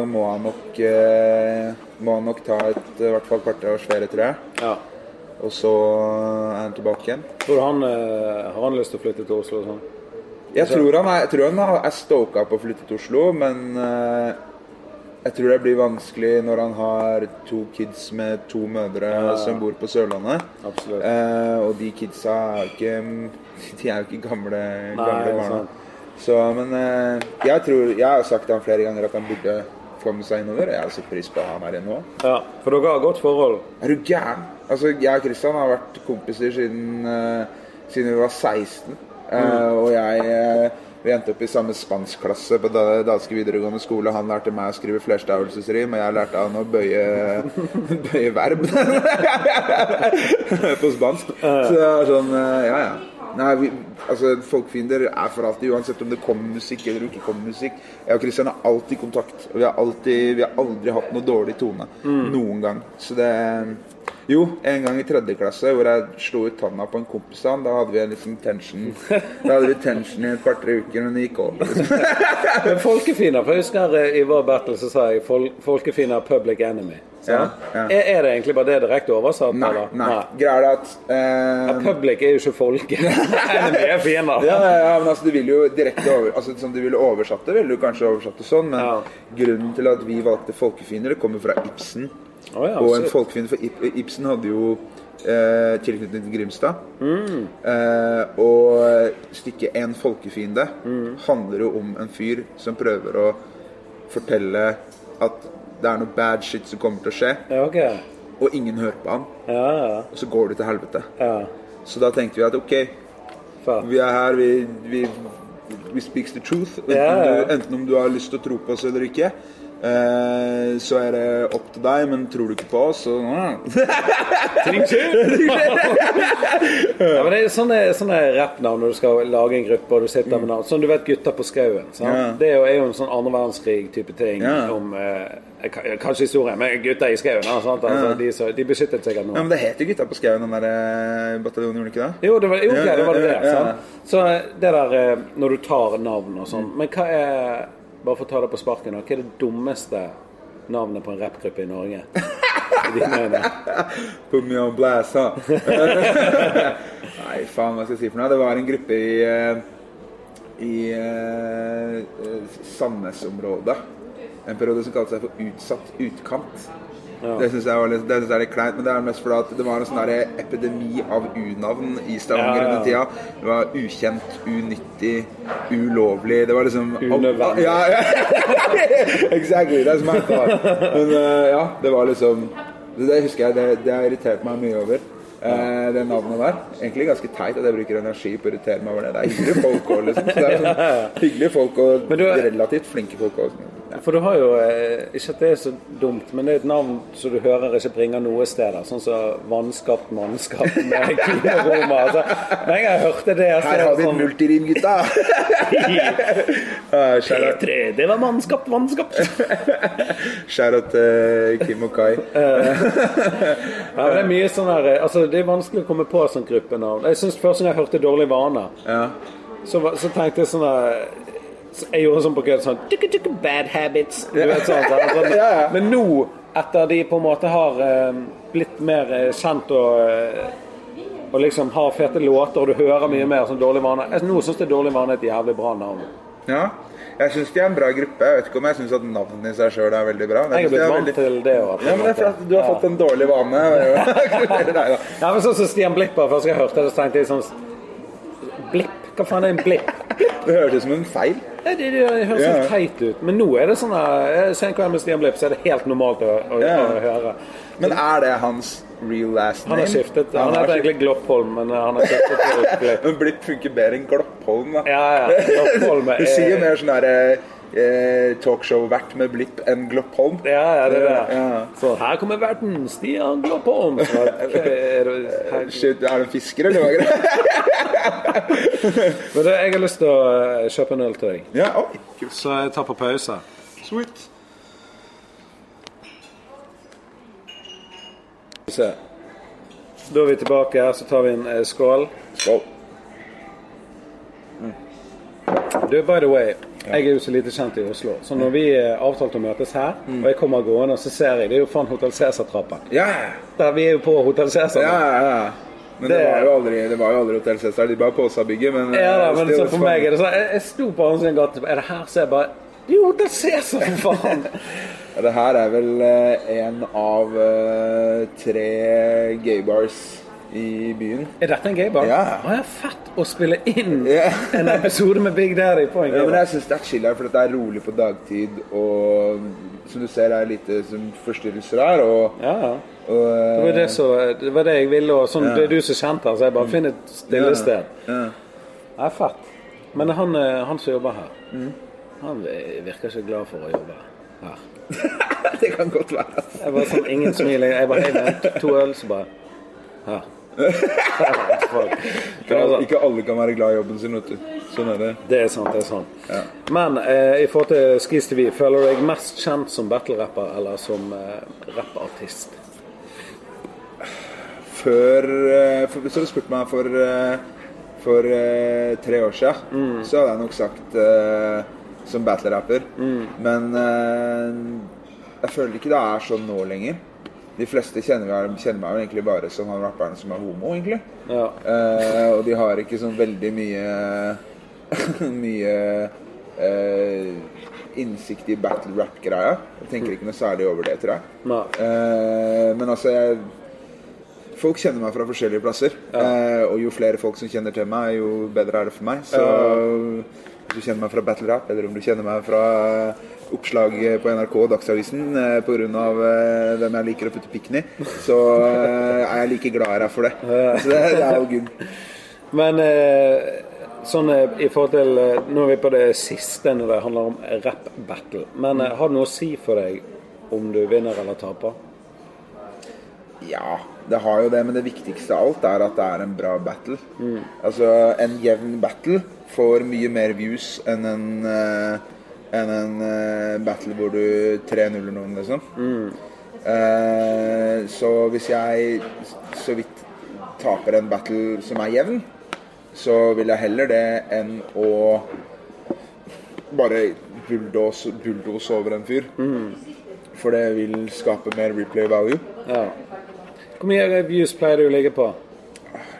Speaker 2: må han nok eh, Må han nok ta et eh, i hvert fall kvarters ferie, tror jeg.
Speaker 1: Ja.
Speaker 2: Og så eh, er han tilbake igjen.
Speaker 1: Tror du han eh, har han lyst til å flytte til Oslo og sånn?
Speaker 2: Jeg tror han er, jeg tror han har- er stoka på å flytte til Oslo, men eh, jeg tror det blir vanskelig når han har to kids med to mødre som bor på Sørlandet.
Speaker 1: Absolutt.
Speaker 2: Eh, og de kidsa er jo ikke De er jo ikke gamle, gamle
Speaker 1: det er
Speaker 2: barna.
Speaker 1: sant.
Speaker 2: Så, men eh, jeg tror Jeg har sagt til han flere ganger at han burde komme seg innover. Jeg har satt pris på at han er inne nå.
Speaker 1: Ja, For dere har godt forhold?
Speaker 2: Er du gæren? Altså, jeg og Kristian har vært kompiser siden, eh, siden vi var 16. Eh, Og jeg eh, Vi endte opp i samme spanskklasse på da- danske videregående skole. Han lærte meg å skrive flerstavelsesrim, og jeg lærte han å bøye, bøye verb på spansk. Så det er sånn eh, Ja, ja. Nei, vi, altså, Folkfiender er for alltid, uansett om det kommer musikk eller ikke kommer musikk. Jeg og Kristian har alltid kontakt, og vi har, alltid, vi har aldri hatt noe dårlig tone. Noen gang. Så det Jo, en gang i tredje klasse hvor jeg slo ut tanna på en kompis av han, da hadde vi en liksom tension Da hadde vi tension i et par-tre uker, men det gikk over. Liksom.
Speaker 1: Men folkefiender, for jeg husker eh, i vår battle så sa jeg fol folkefiender er public enemy.
Speaker 2: Ja,
Speaker 1: sant?
Speaker 2: ja.
Speaker 1: Er, er det egentlig bare det direkte oversatt?
Speaker 2: Nei,
Speaker 1: eller?
Speaker 2: nei. Greia er at eh,
Speaker 1: Public er jo ikke folket. enemy er fiender.
Speaker 2: Ja, ja, ja, men altså, du vil jo direkte over, altså, som du ville oversatt det, ville du kanskje oversatt det sånn, men
Speaker 1: Ja.
Speaker 2: grunnen til at vi valgte folkefiender, det kommer fra Ibsen.
Speaker 1: Å ja,
Speaker 2: og en
Speaker 1: shit.
Speaker 2: folkefiende for Ib Ibsen hadde jo eh, tilknytning til Grimstad.
Speaker 1: Mm.
Speaker 2: Eh, og stykket 'En folkefiende'
Speaker 1: Mm.
Speaker 2: handler jo om en fyr som prøver å fortelle at det er noe bad shit som kommer til å skje,
Speaker 1: Ja, ok.
Speaker 2: og ingen hører på ham,
Speaker 1: Ja, ja.
Speaker 2: og så går det til helvete.
Speaker 1: ja.
Speaker 2: Så da tenkte vi at ok,
Speaker 1: Fair.
Speaker 2: vi er her, vi, vi, we speaks the truth. Enten,
Speaker 1: Ja, ja.
Speaker 2: Du, enten om du har lyst til å tro på oss eller ikke. Eh, så er det opp til deg, men tror du ikke på oss, så
Speaker 1: Ting skjer! ja, men det er sånne, sånne rappnavn når du skal lage en gruppe og du sitter med navn. Sånn du vet 'Gutta på skauen'. sant?
Speaker 2: Ja.
Speaker 1: Det er jo, er jo en sånn andre verdenskrig-type ting
Speaker 2: Ja.
Speaker 1: om eh, k- Kanskje historie, men 'Gutta i skauen'. da, Sant? Altså,
Speaker 2: Ja.
Speaker 1: de, så, de beskyttet sikkert
Speaker 2: Ja,
Speaker 1: noen.
Speaker 2: men det heter Gutta på skauen, den der eh, bataljonen, gjorde det ikke det?
Speaker 1: Jo, det var, jo, ok, det var det.
Speaker 2: Ja, ja, ja.
Speaker 1: Sant? Så eh, det der eh, når du tar navn og sånn Men hva er Bare for å ta det på sparken, da, hva er det dummeste navnet på en rappgruppe i Norge? I dine øyne?
Speaker 2: Put me on blast, ha. Nei, faen, hva skal jeg si for noe? Det var en gruppe i, eh, i eh, eh, Sandnes-området. En periode som kalte seg for Utsatt utkant.
Speaker 1: Ja.
Speaker 2: Det syns jeg, var litt- det synes jeg er litt kleint, men det er mest fordi at det var en sånn der epidemi av u-navn i
Speaker 1: Ja,
Speaker 2: Stavanger
Speaker 1: ja,
Speaker 2: under tida.
Speaker 1: ja.
Speaker 2: Det var ukjent, unyttig, ulovlig. Det var liksom
Speaker 1: Unødvendig.
Speaker 2: Ja, ja. exactly. That's my thought. Men eh, ja, det var liksom Det, det husker jeg, det, det har irritert meg mye over. eh, det navnet der. Egentlig ganske teit at jeg bruker energi på å irritere meg over det. Det er hyggelige folk òg, liksom. Så det er sånn, hyggelige folk og
Speaker 1: Men du er-
Speaker 2: relativt flinke folk òg.
Speaker 1: For du har jo eh, Ikke at det er så dumt, men det er et navn som du hører ikke bringer noe sted. da. Sånn som Vannskapt mannskap med Kine Roma. Altså, med en gang jeg hørte det så
Speaker 2: Her
Speaker 1: er
Speaker 2: har
Speaker 1: det
Speaker 2: vi
Speaker 1: sånn,
Speaker 2: et multirim, gutta! Eh, shout out-
Speaker 1: P3, sånn- det var mannskap, mannskap!
Speaker 2: Shout out til Kim og Kai.
Speaker 1: Ja, men det er mye sånn her eh, Altså, det er vanskelig å komme på sånn gruppenavn. Jeg syns første gang jeg hørte Dårlig vane,
Speaker 2: Ja.
Speaker 1: så, var- så tenkte jeg sånn her så Jeg gjorde sånn på kødd sånn «Tukku, tukku, Bad habits. Du vet sånn. sånn, sånn.
Speaker 2: Ja, ja.
Speaker 1: Men nå, etter de på en måte har eh, blitt mer eh, kjent og eh, og liksom har fete låter, og du hører mye mer sånn dårlig vane. Jeg, nå syns jeg Dårlig vane er et jævlig bra navn.
Speaker 2: ja. Jeg syns de er en bra gruppe. Jeg vet ikke om jeg syns at navnet i seg sjøl er veldig bra. men
Speaker 1: Jeg er
Speaker 2: jeg synes de
Speaker 1: blitt
Speaker 2: er
Speaker 1: vant
Speaker 2: veldig-
Speaker 1: til det òg.
Speaker 2: Ja, men det er for at du har fått en dårlig vane. Neida.
Speaker 1: Ja, men sånn som Stian Blipp var første gang jeg hørte det, så tenkte jeg sånn Blipp? Hva faen er en blipp?
Speaker 2: Det høres ut som en feil.
Speaker 1: Nei, Det, det, det høres
Speaker 2: Ja.
Speaker 1: helt teit ut, men nå er det sånn eh, Se en kveld med Stian Blipp, så er det helt normalt å, å,
Speaker 2: Ja.
Speaker 1: å høre.
Speaker 2: Men er det hans real last name?
Speaker 1: Han har skiftet.
Speaker 2: Han
Speaker 1: Han
Speaker 2: har
Speaker 1: heter
Speaker 2: skiftet.
Speaker 1: egentlig Gloppholm, men eh, han har skiftet til Blipp.
Speaker 2: Men Blipp funker bedre enn Gloppholm, da.
Speaker 1: Ja, ja. Gloppholm er
Speaker 2: Du sier jo mer sånn der eh, talkshow-vert med Blipp enn Gloppholm.
Speaker 1: Ja, ja, det er det.
Speaker 2: Ja.
Speaker 1: Så her kommer verten, Stian Gloppholm. Så, ok, er det, her,
Speaker 2: Shit, er det en fisker, eller hva? er det?
Speaker 1: men du, jeg har lyst til å eh, kjøpe en øl til deg.
Speaker 2: ja, oi, kult.
Speaker 1: Så jeg tar på pause.
Speaker 2: Sweet.
Speaker 1: Se. Da er vi tilbake her, så tar vi en eh, skål.
Speaker 2: Skål.
Speaker 1: Du, by the way, jeg er jo så lite kjent i Oslo, så når vi eh, avtalte å møtes her,
Speaker 2: Mm.
Speaker 1: og jeg kommer gående, så ser jeg Det er jo faen Hotell Cæsar-trappen.
Speaker 2: Ja,
Speaker 1: Der Vi er jo på Hotell Cæsar.
Speaker 2: ja, ja. ja. Men det,
Speaker 1: Det-
Speaker 2: var jo aldri, det var jo aldri Hotel Cæsar. De bare påsa bygget, men eh,
Speaker 1: Ja, da, men
Speaker 2: still,
Speaker 1: så
Speaker 2: it's
Speaker 1: for
Speaker 2: fun.
Speaker 1: meg er det sånn Jeg, jeg sto på andre siden av gaten, er det her? Så jeg bare Det er jo Hotell Cæsar, for faen!
Speaker 2: Ja, Det her er vel eh, en av eh, tre gaybars i byen.
Speaker 1: Er dette en gaybar?
Speaker 2: Ja.
Speaker 1: Å, ja, fett å spille inn
Speaker 2: Ja.
Speaker 1: en episode med Big Daddy på en
Speaker 2: Ja, men
Speaker 1: gaybar.
Speaker 2: jeg syns det er chill her, for det er rolig på dagtid. Og som du ser, det er lite som forstyrrelser her. Og,
Speaker 1: Ja, ja.
Speaker 2: og eh,
Speaker 1: Det var det, så, det var det jeg ville, og sånn, det er du som kjente her, så jeg bare finn et stille sted.
Speaker 2: Ja.
Speaker 1: Det er fett. Men han, eh, han som jobber her, han eh, virker ikke glad for å jobbe her.
Speaker 2: Det kan godt være. altså. ass.
Speaker 1: Jeg bare sånn, ingen smil. Jeg bare hei, vent, to øl, så bare Her.
Speaker 2: Ikke, alle-
Speaker 1: Fuck.
Speaker 2: ikke alle kan være glad i jobben sin, vet du. Sånn er det.
Speaker 1: Det er sant, det er sant. Men eh, i forhold til Skis TV, føler du deg mest kjent som battle-rapper eller som eh, rappartist?
Speaker 2: Før eh, for, Hvis du hadde spurt meg for, eh, for eh, tre år siden, så hadde jeg nok sagt eh, som battle-rapper. Men eh, jeg føler ikke det er sånn nå lenger. De fleste kjenner meg, kjenner meg jo egentlig bare som han rapperen som er homo, egentlig.
Speaker 1: Ja.
Speaker 2: Eh, og de har ikke sånn veldig mye Mye eh, innsikt i battle rap-greia. Jeg tenker ikke noe særlig over det, tror jeg.
Speaker 1: Nei.
Speaker 2: Eh, men altså jeg, Folk kjenner meg fra forskjellige plasser. Eh, og jo flere folk som kjenner til meg, jo bedre er det for meg. Så hvis du kjenner meg fra battle rap, eller om du kjenner meg fra eh, oppslag på NRK og Dagsavisen eh, pga. Eh, hvem jeg liker å putte pikken i, så eh, er jeg like glad jeg er for det. Så det, det er jo good.
Speaker 1: Men eh, Sånn eh, i forhold til eh, Nå er vi på det siste når det handler om rap-battle. Men eh, har det noe å si for deg om du vinner eller taper?
Speaker 2: Ja, det har jo det, men det viktigste av alt er at det er en bra battle. Altså, en jevn battle får mye mer views enn en, eh, enn en eh, battle hvor du 3-0-er noen, liksom. Eh, så hvis jeg s- så vidt taper en battle som er jevn, så vil jeg heller det enn å bare bulldose, bulldose over en fyr. For det vil skape mer replay value.
Speaker 1: Ja. Hvor mye eh, views pleier du å ligge på?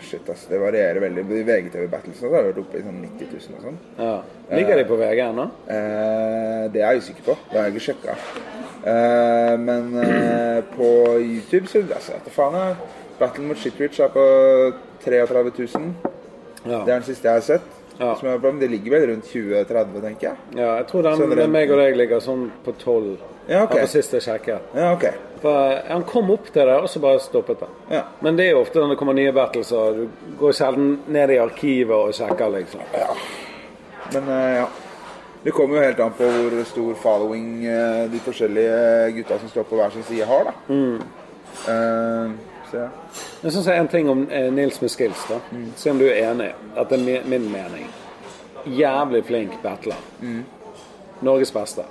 Speaker 2: Shit, ass, det varierer veldig. I VGTV-battlesene har jeg vært oppe i sånn 90 000 og sånn.
Speaker 1: Ja. Ligger de på VG ennå?
Speaker 2: Eh, det er jeg usikker på. Det har jeg ikke sjekka. Eh, men eh, på YouTube så altså, vet du faen jeg. Battle mot Shitrich er på 33 000.
Speaker 1: Ja.
Speaker 2: Det er den siste jeg har sett.
Speaker 1: Ja.
Speaker 2: Som jeg har på, men det ligger vel rundt 20-30, tenker jeg.
Speaker 1: ja. Jeg tror den,
Speaker 2: Så det er-
Speaker 1: den meg og deg ligger sånn på tolv.
Speaker 2: Ja, ok.
Speaker 1: På sist jeg sjekket.
Speaker 2: Ja, ok.
Speaker 1: For eh, han kom opp til det, og så bare stoppet det.
Speaker 2: Ja.
Speaker 1: Men det er jo ofte når det kommer nye battles, og du går sjelden ned i arkivet og sjekker, liksom.
Speaker 2: Men eh, ja. Det kommer jo helt an på hvor stor following eh, de forskjellige gutta som står på hver sin side, har, da.
Speaker 1: Mm.
Speaker 2: Eh, så ja.
Speaker 1: Men så sier jeg en ting om eh, Nils med skills, da.
Speaker 2: Mm.
Speaker 1: Se om du er enig. At det er mi- min mening. Jævlig flink battler.
Speaker 2: Mm.
Speaker 1: Norges beste.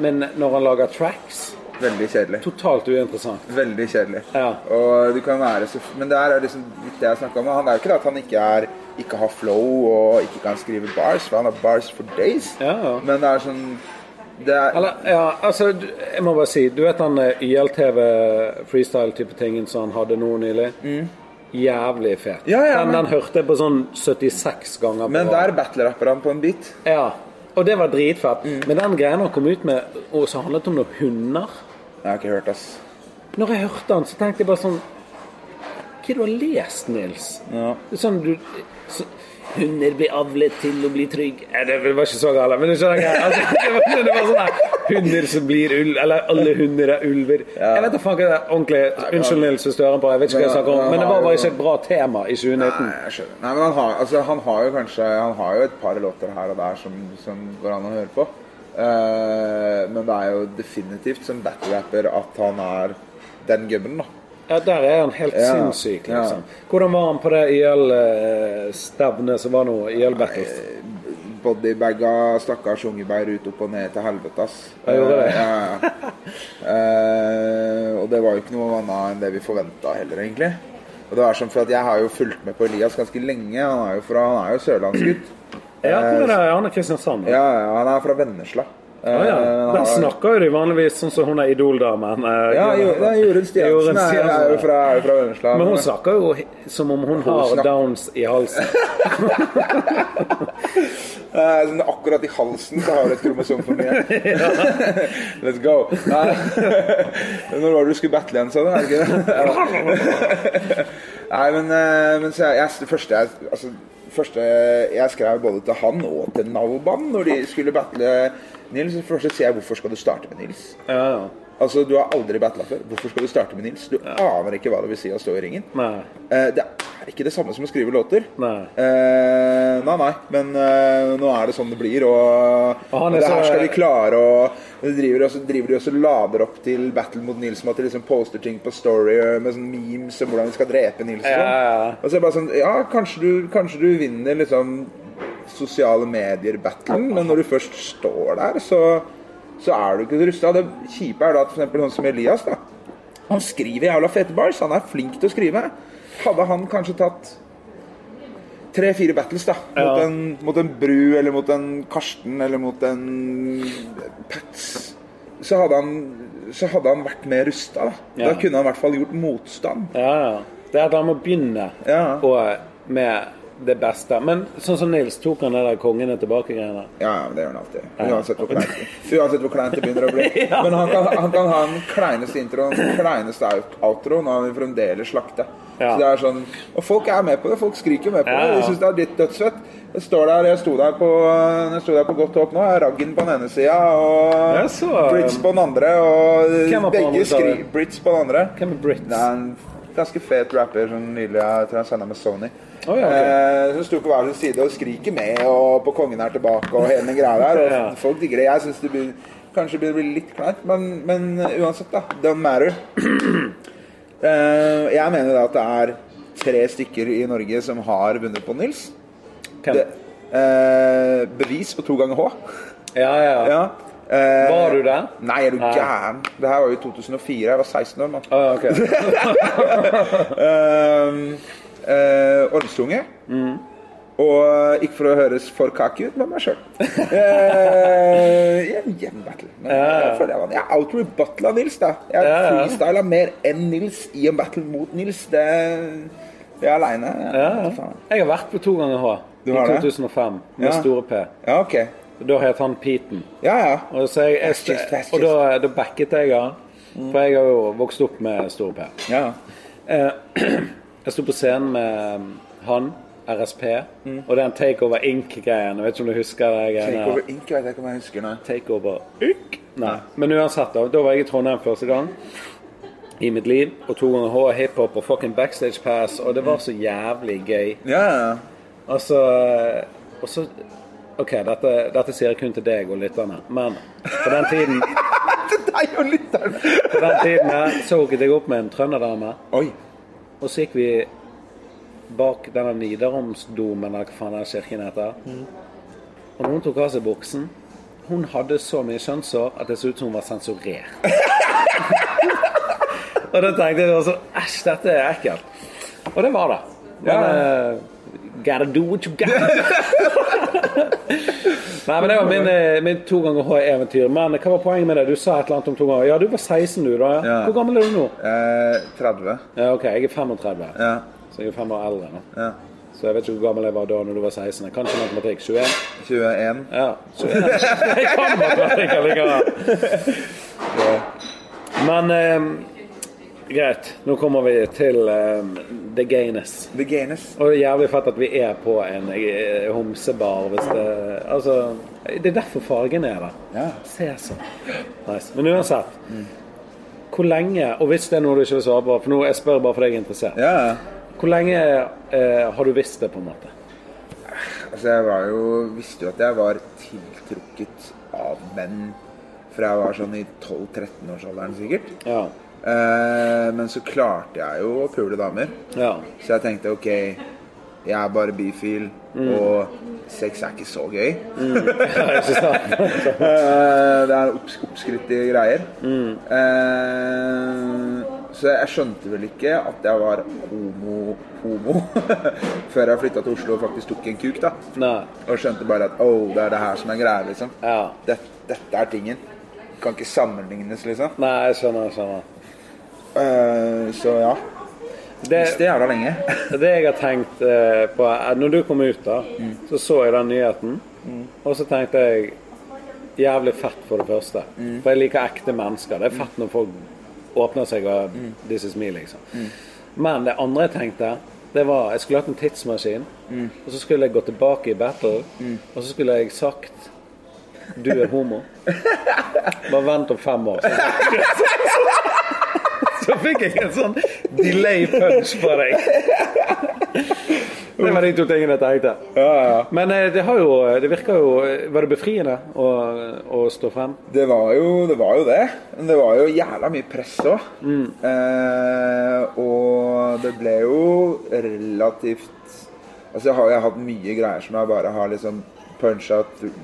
Speaker 1: Men når han lager tracks
Speaker 2: Veldig kjedelig.
Speaker 1: Totalt uinteressant.
Speaker 2: Veldig kjedelig.
Speaker 1: Ja.
Speaker 2: Og du kan være så Men det her er liksom litt det jeg snakka om. Han er jo ikke det at han ikke, er, ikke har flow og ikke kan skrive bars, for han har bars for days.
Speaker 1: Ja, ja.
Speaker 2: Men det er sånn det er,
Speaker 1: Eller, ja, altså, du- jeg må bare si Du vet han eh, YLTV-freestyle-type tingen som han hadde nå nylig? Jævlig fet.
Speaker 2: Mm. Ja, ja,
Speaker 1: den,
Speaker 2: men-
Speaker 1: den hørte jeg på sånn 76 ganger. på-
Speaker 2: Men der battlerapper han på en beat.
Speaker 1: Ja, og det var dritfett.
Speaker 2: Mm.
Speaker 1: Men den greien han kom ut med, og så handlet det om noen hunder.
Speaker 2: Jeg har ikke hørt, ass.
Speaker 1: Når jeg hørte han, så tenkte jeg bare sånn Hva er det du har lest, Nils?
Speaker 2: Ja.
Speaker 1: Det er Sånn du så, Hunder blir avlet til å bli trygg Nei, Det var ikke så galt, men du skjønner greia. Altså, det, var- det var sånn der, Hunder som blir ulv Eller alle hunder er ulver. Jeg vet da faen hva det er ordentlig Unnskyld, Nils, hvis du hører på. Jeg vet ikke hva jeg snakker om, men det var bare ikke et bra tema i 2019.
Speaker 2: Nei, jeg skjønner. Nei, men han har, altså, han har jo kanskje Han har jo et par låter her og der som, som går an å høre på. Eh, men det er jo definitivt som battlerapper at han er den gubben, da.
Speaker 1: Ja, der er han helt
Speaker 2: Ja,
Speaker 1: sinnssyk, liksom.
Speaker 2: ja.
Speaker 1: Hvordan var han på det IL-stevnet som var nå? IL Battles?
Speaker 2: Bodybagga stakkars ungebeir ut opp og ned til helvete, ass.
Speaker 1: Jeg gjorde det.
Speaker 2: Eh, Ja, ja. Eh, og det var jo ikke noe annet enn det vi forventa heller, egentlig. Og det er sånn for at Jeg har jo fulgt med på Elias ganske lenge. Han er jo, fra, han er jo sørlandsgutt.
Speaker 1: Ja, hvor er det? Han er Kristiansand. Ja.
Speaker 2: Ja, ja, han er fra Vennesla. Eh,
Speaker 1: Ja,
Speaker 2: han
Speaker 1: Der
Speaker 2: har-
Speaker 1: snakker jo de vanligvis sånn som hun er Idol-damen. eh,
Speaker 2: Ja, Jo- det er Jorunn Stiansen.
Speaker 1: Jorunn
Speaker 2: er-
Speaker 1: Stiansen,
Speaker 2: er jo
Speaker 1: ja.
Speaker 2: fra, er jo fra Vennesla.
Speaker 1: Men hun snakker jo he- som om hun har
Speaker 2: snakker-
Speaker 1: downs i halsen.
Speaker 2: Eh, sånn, akkurat i halsen så har du et kromosom for mye. Let's go. Nei. Når var det du skulle battle igjen, sa du? Er det ikke det? Nei, men, eh, men så jeg, jeg, det første jeg altså, første jeg skrev både til han og til Nauban når de skulle battle eh, Nils. så Først sier jeg 'Hvorfor skal du starte med Nils?'
Speaker 1: Ja, ja.
Speaker 2: Altså, Du har aldri battla før. Hvorfor skal du starte med Nils? Du aner ikke hva det vil si å stå i ringen.
Speaker 1: Nei.
Speaker 2: Eh, det er ikke det samme som å skrive låter.
Speaker 1: Nei.
Speaker 2: Eh, nei, nei. Men eh, nå er det sånn det blir, og,
Speaker 1: Og han er
Speaker 2: det
Speaker 1: så-
Speaker 2: her skal vi klare. Og de driver, og så driver de også lader opp til battle mot Nils med at de liksom poster ting på Story eh, med sånn memes om hvordan de skal drepe Nils. Og, sånn.
Speaker 1: Ja, ja, ja.
Speaker 2: og så er det bare sånn Ja, kanskje du, kanskje du vinner liksom sosiale medier-battlen, men når du først står der, så, så er du ikke rusta. Det kjipe er da at for eksempel sånn som Elias, da. Han skriver jævla fete bars. Han er flink til å skrive. Hadde han kanskje tatt tre-fire battles da mot,
Speaker 1: Ja.
Speaker 2: en, mot en Bru eller mot en Karsten eller mot en Pats, så hadde han, så hadde han vært mer rusta. Da.
Speaker 1: Ja.
Speaker 2: da kunne han i hvert fall gjort motstand.
Speaker 1: Ja, ja. Det er at han må begynne
Speaker 2: Ja.
Speaker 1: og med det beste. Men sånn som Nils, tok han det der kongene tilbake-greiene?
Speaker 2: Ja, ja, men det gjør han alltid. Uansett hvor kleint, uansett hvor kleint det begynner å bli. Men han kan, han kan ha den kleineste introen, den kleineste out- outroen, og han vil fremdeles slakte.
Speaker 1: Ja.
Speaker 2: Så det er sånn, Og folk er med på det. Folk skriker med på
Speaker 1: Ja,
Speaker 2: det.
Speaker 1: ja.
Speaker 2: De syns det er litt dødsfett. Jeg står der, jeg sto der på, jeg sto der på godt håp nå. Jeg har Raggen på den ene sida
Speaker 1: Ja,
Speaker 2: og
Speaker 1: så-
Speaker 2: Brits på den andre.
Speaker 1: Hvem var på
Speaker 2: Og
Speaker 1: andre
Speaker 2: begge
Speaker 1: sida?
Speaker 2: skri... Brits på den andre.
Speaker 1: Hvem er Brits?
Speaker 2: Det er en, det ganske fet rapper som nylig har jeg tror jeg sendet med Sony.
Speaker 1: Å, ja, ok.
Speaker 2: eh, som sto på hver sin side og skriker med, og på 'Kongen er tilbake' og hele den greia der. Og
Speaker 1: Ja.
Speaker 2: Folk digger det. Jeg syns det begynner, kanskje begynner å bli litt kleint, men, men uansett, da. Don't matter. Eh, jeg mener da at det er tre stykker i Norge som har vunnet på Nils.
Speaker 1: Hvem?
Speaker 2: Det, eh, bevis på to ganger H.
Speaker 1: Ja, ja. ja.
Speaker 2: Ja. Eh,
Speaker 1: Var du der?
Speaker 2: Nei, er du
Speaker 1: Nei.
Speaker 2: gæren? Det her var jo 2004. Jeg var 16 år, mann.
Speaker 1: Å, ja, ok.
Speaker 2: Ehm, eh, Ormsunge.
Speaker 1: Mm.
Speaker 2: Og eh, ikke for å høres for kaki ut, men meg sjøl. Uh, Jevn battle. Men
Speaker 1: ja.
Speaker 2: jeg føler jeg vant. Jeg outrebuttla Nils, da. Jeg
Speaker 1: Ja, ja.
Speaker 2: freestyla mer enn Nils i en battle mot Nils. Det Jeg er aleine.
Speaker 1: Ja, ja. Jeg har vært på to ganger H.
Speaker 2: Du
Speaker 1: I
Speaker 2: har det?
Speaker 1: 2005 med
Speaker 2: Ja.
Speaker 1: Store P.
Speaker 2: ja, ok.
Speaker 1: Da het han Peten.
Speaker 2: Ja, ja.
Speaker 1: Og, så jeg,
Speaker 2: That's
Speaker 1: jeg,
Speaker 2: just- that's
Speaker 1: og da, da backet jeg han. For jeg har jo vokst opp med Store P.
Speaker 2: ja.
Speaker 1: Eh, jeg sto på scenen med um, han, RSP, og den Takeover Ink-greien. Jeg vet ikke om du husker det? greiene
Speaker 2: Takeover
Speaker 1: her.
Speaker 2: Ink vet jeg ikke om jeg husker nå.
Speaker 1: Takeover Ink? Nei. Men uansett, da. Da var jeg i Trondheim første gang i mitt liv. Og to ganger H, hiphop og fucking backstage pass, og det var så jævlig gøy.
Speaker 2: Ja, ja.
Speaker 1: Og så Og så OK, dette, dette sier jeg kun til deg og lytterne, men på den tiden,
Speaker 2: Til deg og lytteren!
Speaker 1: på den tiden her, så hooket jeg opp med en trønderdame.
Speaker 2: Oi.
Speaker 1: Og så gikk vi bak denne Nidaromsdomen, eller hva faen den kirken heter.
Speaker 2: Mm.
Speaker 1: Og når hun tok av seg buksen Hun hadde så mye kjønnshår at det så ut som hun var sensurert. og da tenkte jeg også Æsj, dette er ekkelt. Og det var det. Men
Speaker 2: Ja.
Speaker 1: eh, Gotta do what you got. Nei, men det var min, eh, min to ganger H-eventyr. Men hva var poenget med det? Du sa et eller annet om to ganger. Ja, du var 16 du, da.
Speaker 2: Ja.
Speaker 1: Hvor gammel er du nå?
Speaker 2: Eh, 30.
Speaker 1: Ja, OK, jeg er 35.
Speaker 2: Ja.
Speaker 1: Så jeg er fem år eldre nå.
Speaker 2: ja.
Speaker 1: Så jeg vet ikke hvor gammel jeg var da når du var 16. Kanskje matematikk. 21?
Speaker 2: 21.
Speaker 1: Ja. 21. Jeg kan matematikk allikevel.
Speaker 2: Ja.
Speaker 1: Men ehm, greit. Nå kommer vi til ehm, The Gaines.
Speaker 2: The Gaines.
Speaker 1: Og det er jævlig fett at vi er på en eh, homsebar hvis det Altså, det er derfor fargen er der.
Speaker 2: Ja.
Speaker 1: Se sånn. Nice. Men uansett. Hvor lenge, og hvis det er noe du ikke vil svare på, for nå jeg spør bare for deg er interessert,
Speaker 2: Ja, ja.
Speaker 1: hvor lenge eh, har du visst det, på en måte?
Speaker 2: Altså, jeg var jo Visste jo at jeg var tiltrukket av menn fra jeg var sånn i 12-13-årsalderen, sikkert.
Speaker 1: Ja.
Speaker 2: Eh, men så klarte jeg jo å pule damer.
Speaker 1: Ja.
Speaker 2: Så jeg tenkte ok, jeg er bare bifil,
Speaker 1: Mm.
Speaker 2: og sex er ikke så gøy.
Speaker 1: Ikke sant?
Speaker 2: Eh, det er opps oppskrytte greier.
Speaker 1: Mm.
Speaker 2: Eh, så jeg skjønte vel ikke at jeg var homo, homo før jeg flytta til Oslo og faktisk tok en kuk, da.
Speaker 1: Nei.
Speaker 2: Og skjønte bare at oh, det er det her som er greia, liksom.
Speaker 1: Ja.
Speaker 2: Dette, dette er tingen. Kan ikke sammenlignes, liksom.
Speaker 1: Nei, jeg skjønner. jeg skjønner.
Speaker 2: Eh, så ja.
Speaker 1: Det,
Speaker 2: Visste jævla lenge.
Speaker 1: det jeg har tenkt eh, på er- Når du kom ut, da, så så jeg den nyheten. Og så tenkte jeg Jævlig fett, for det første. For jeg liker ekte mennesker. Det er fett når folk åpner seg og This is me, liksom. Men det andre jeg tenkte, det var Jeg skulle hatt en tidsmaskin. Og så skulle jeg gå tilbake i battle, og så skulle jeg sagt Du er homo. Bare vent om fem år. Så Så fikk jeg en sånn delay punch på deg. Det var de to tingene jeg tenkte.
Speaker 2: Ja, ja.
Speaker 1: Men eh, det, har jo, det virker jo eh, Var det befriende å, å stå frem?
Speaker 2: Det var jo det. Var jo det. Men det var jo jævla mye press òg.
Speaker 1: Mm.
Speaker 2: Eh, og det ble jo relativt Altså, jeg har jo hatt mye greier som jeg bare har liksom puncha tr-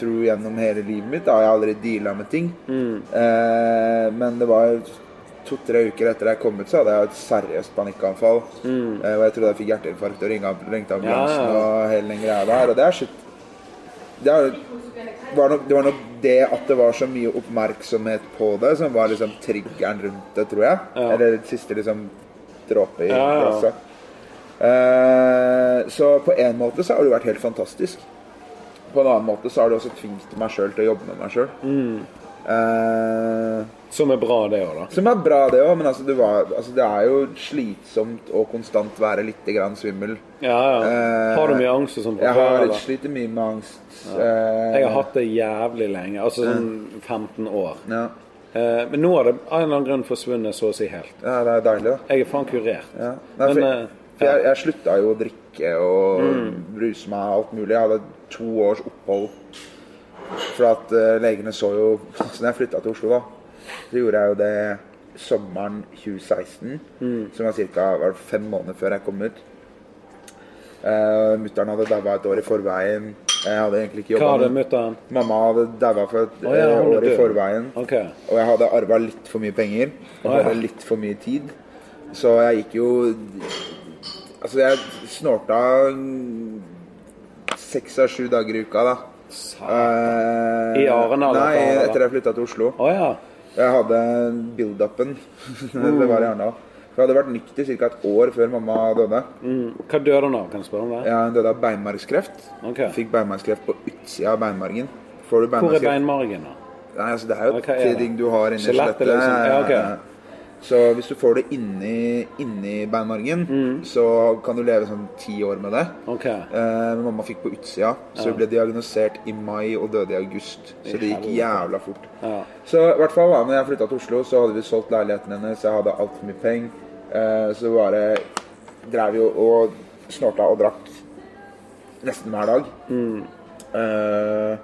Speaker 2: tro gjennom hele livet mitt. Da har jeg aldri deala med ting.
Speaker 1: Mm.
Speaker 2: Eh, men det var to-tre uker etter jeg kom ut, så hadde jeg et seriøst panikkanfall. Eh, og jeg trodde jeg fikk hjerteinfarkt og ringa- ringte ambulansen
Speaker 1: Mm. Ja.
Speaker 2: og hele den greia der. Og det er shit det, er, var nok, det var nok det at det var så mye oppmerksomhet på det, som var liksom triggeren rundt det, tror jeg.
Speaker 1: Ja.
Speaker 2: Eller det siste liksom dråpe i
Speaker 1: Ja, ja.
Speaker 2: glasset. Eh, så på en måte så har det jo vært helt fantastisk. På en annen måte så har det også tvingt meg sjøl til å jobbe med meg sjøl.
Speaker 1: Mm. Som er bra, det òg, da.
Speaker 2: som er bra, det òg, men altså, det, var, altså, det er jo slitsomt å konstant være litt grann svimmel.
Speaker 1: Ja, ja.
Speaker 2: Eh,
Speaker 1: Har du mye angst og sånn? fra
Speaker 2: Jeg
Speaker 1: før,
Speaker 2: har
Speaker 1: eller?
Speaker 2: sliter mye med angst.
Speaker 1: Jeg
Speaker 2: Eh,
Speaker 1: har hatt det jævlig lenge. Altså sånn 15 år.
Speaker 2: Ja.
Speaker 1: Eh, men nå har det av en eller annen grunn forsvunnet så å si helt.
Speaker 2: Ja, det er deilig, da.
Speaker 1: Jeg er faen kurert.
Speaker 2: Ja. Nei, for,
Speaker 1: men eh, Mm.
Speaker 2: for jeg, jeg slutta jo å drikke og bruse meg og alt mulig. Jeg hadde to års opphold. For at eh, legene så jo Så når jeg flytta til Oslo, da, så gjorde jeg jo det sommeren 2016.
Speaker 1: Mm.
Speaker 2: Som var ca. fem måneder før jeg kom ut. Uh, Mutter'n hadde daua et år i forveien. Jeg hadde egentlig ikke
Speaker 1: hva har
Speaker 2: jobba
Speaker 1: det mutter'n?
Speaker 2: Mamma hadde daua for et
Speaker 1: Å, ja,
Speaker 2: eh,
Speaker 1: hun er
Speaker 2: år i
Speaker 1: død.
Speaker 2: forveien.
Speaker 1: Ok.
Speaker 2: Og jeg hadde arva litt for mye penger. Og
Speaker 1: Å, ja.
Speaker 2: bare litt for mye tid. Så jeg gikk jo Altså, jeg snorta seks av sju dager i uka, da.
Speaker 1: I
Speaker 2: Eh,
Speaker 1: årene, eller?
Speaker 2: Nei,
Speaker 1: Hva var det?
Speaker 2: etter jeg flytta til Oslo.
Speaker 1: Å ja.
Speaker 2: Jeg hadde build-upen. det var i Arendal. For jeg hadde vært nykter ca. et år før mamma døde.
Speaker 1: Mm. Hva døde hun av? Kan jeg spørre om det?
Speaker 2: Ja, Hun døde av beinmargskreft.
Speaker 1: Ok.
Speaker 2: Fikk beinmargskreft på utsida av beinmargen. Får
Speaker 1: Hvor
Speaker 2: du
Speaker 1: er
Speaker 2: beinmargskreft
Speaker 1: beinmargen, da?
Speaker 2: Nei, altså det er jo
Speaker 1: Ja, hva er det?
Speaker 2: ting du har inni
Speaker 1: Skjelettet,
Speaker 2: skjelettet.
Speaker 1: liksom. Ja, ok.
Speaker 2: Så hvis du får det inni, inni beinmargen, så kan du leve sånn ti år med det.
Speaker 1: Mm. Ok.
Speaker 2: Eh, men mamma fikk på utsida, så hun ble diagnosert i mai og døde i august. Så det gikk jævla fort.
Speaker 1: Ja.
Speaker 2: Så i hvert fall da når jeg flytta til Oslo, så hadde vi solgt leiligheten hennes. Jeg hadde altfor mye penger. Eh, så bare drev vi og, og snorta og drakk nesten hver dag. Eh,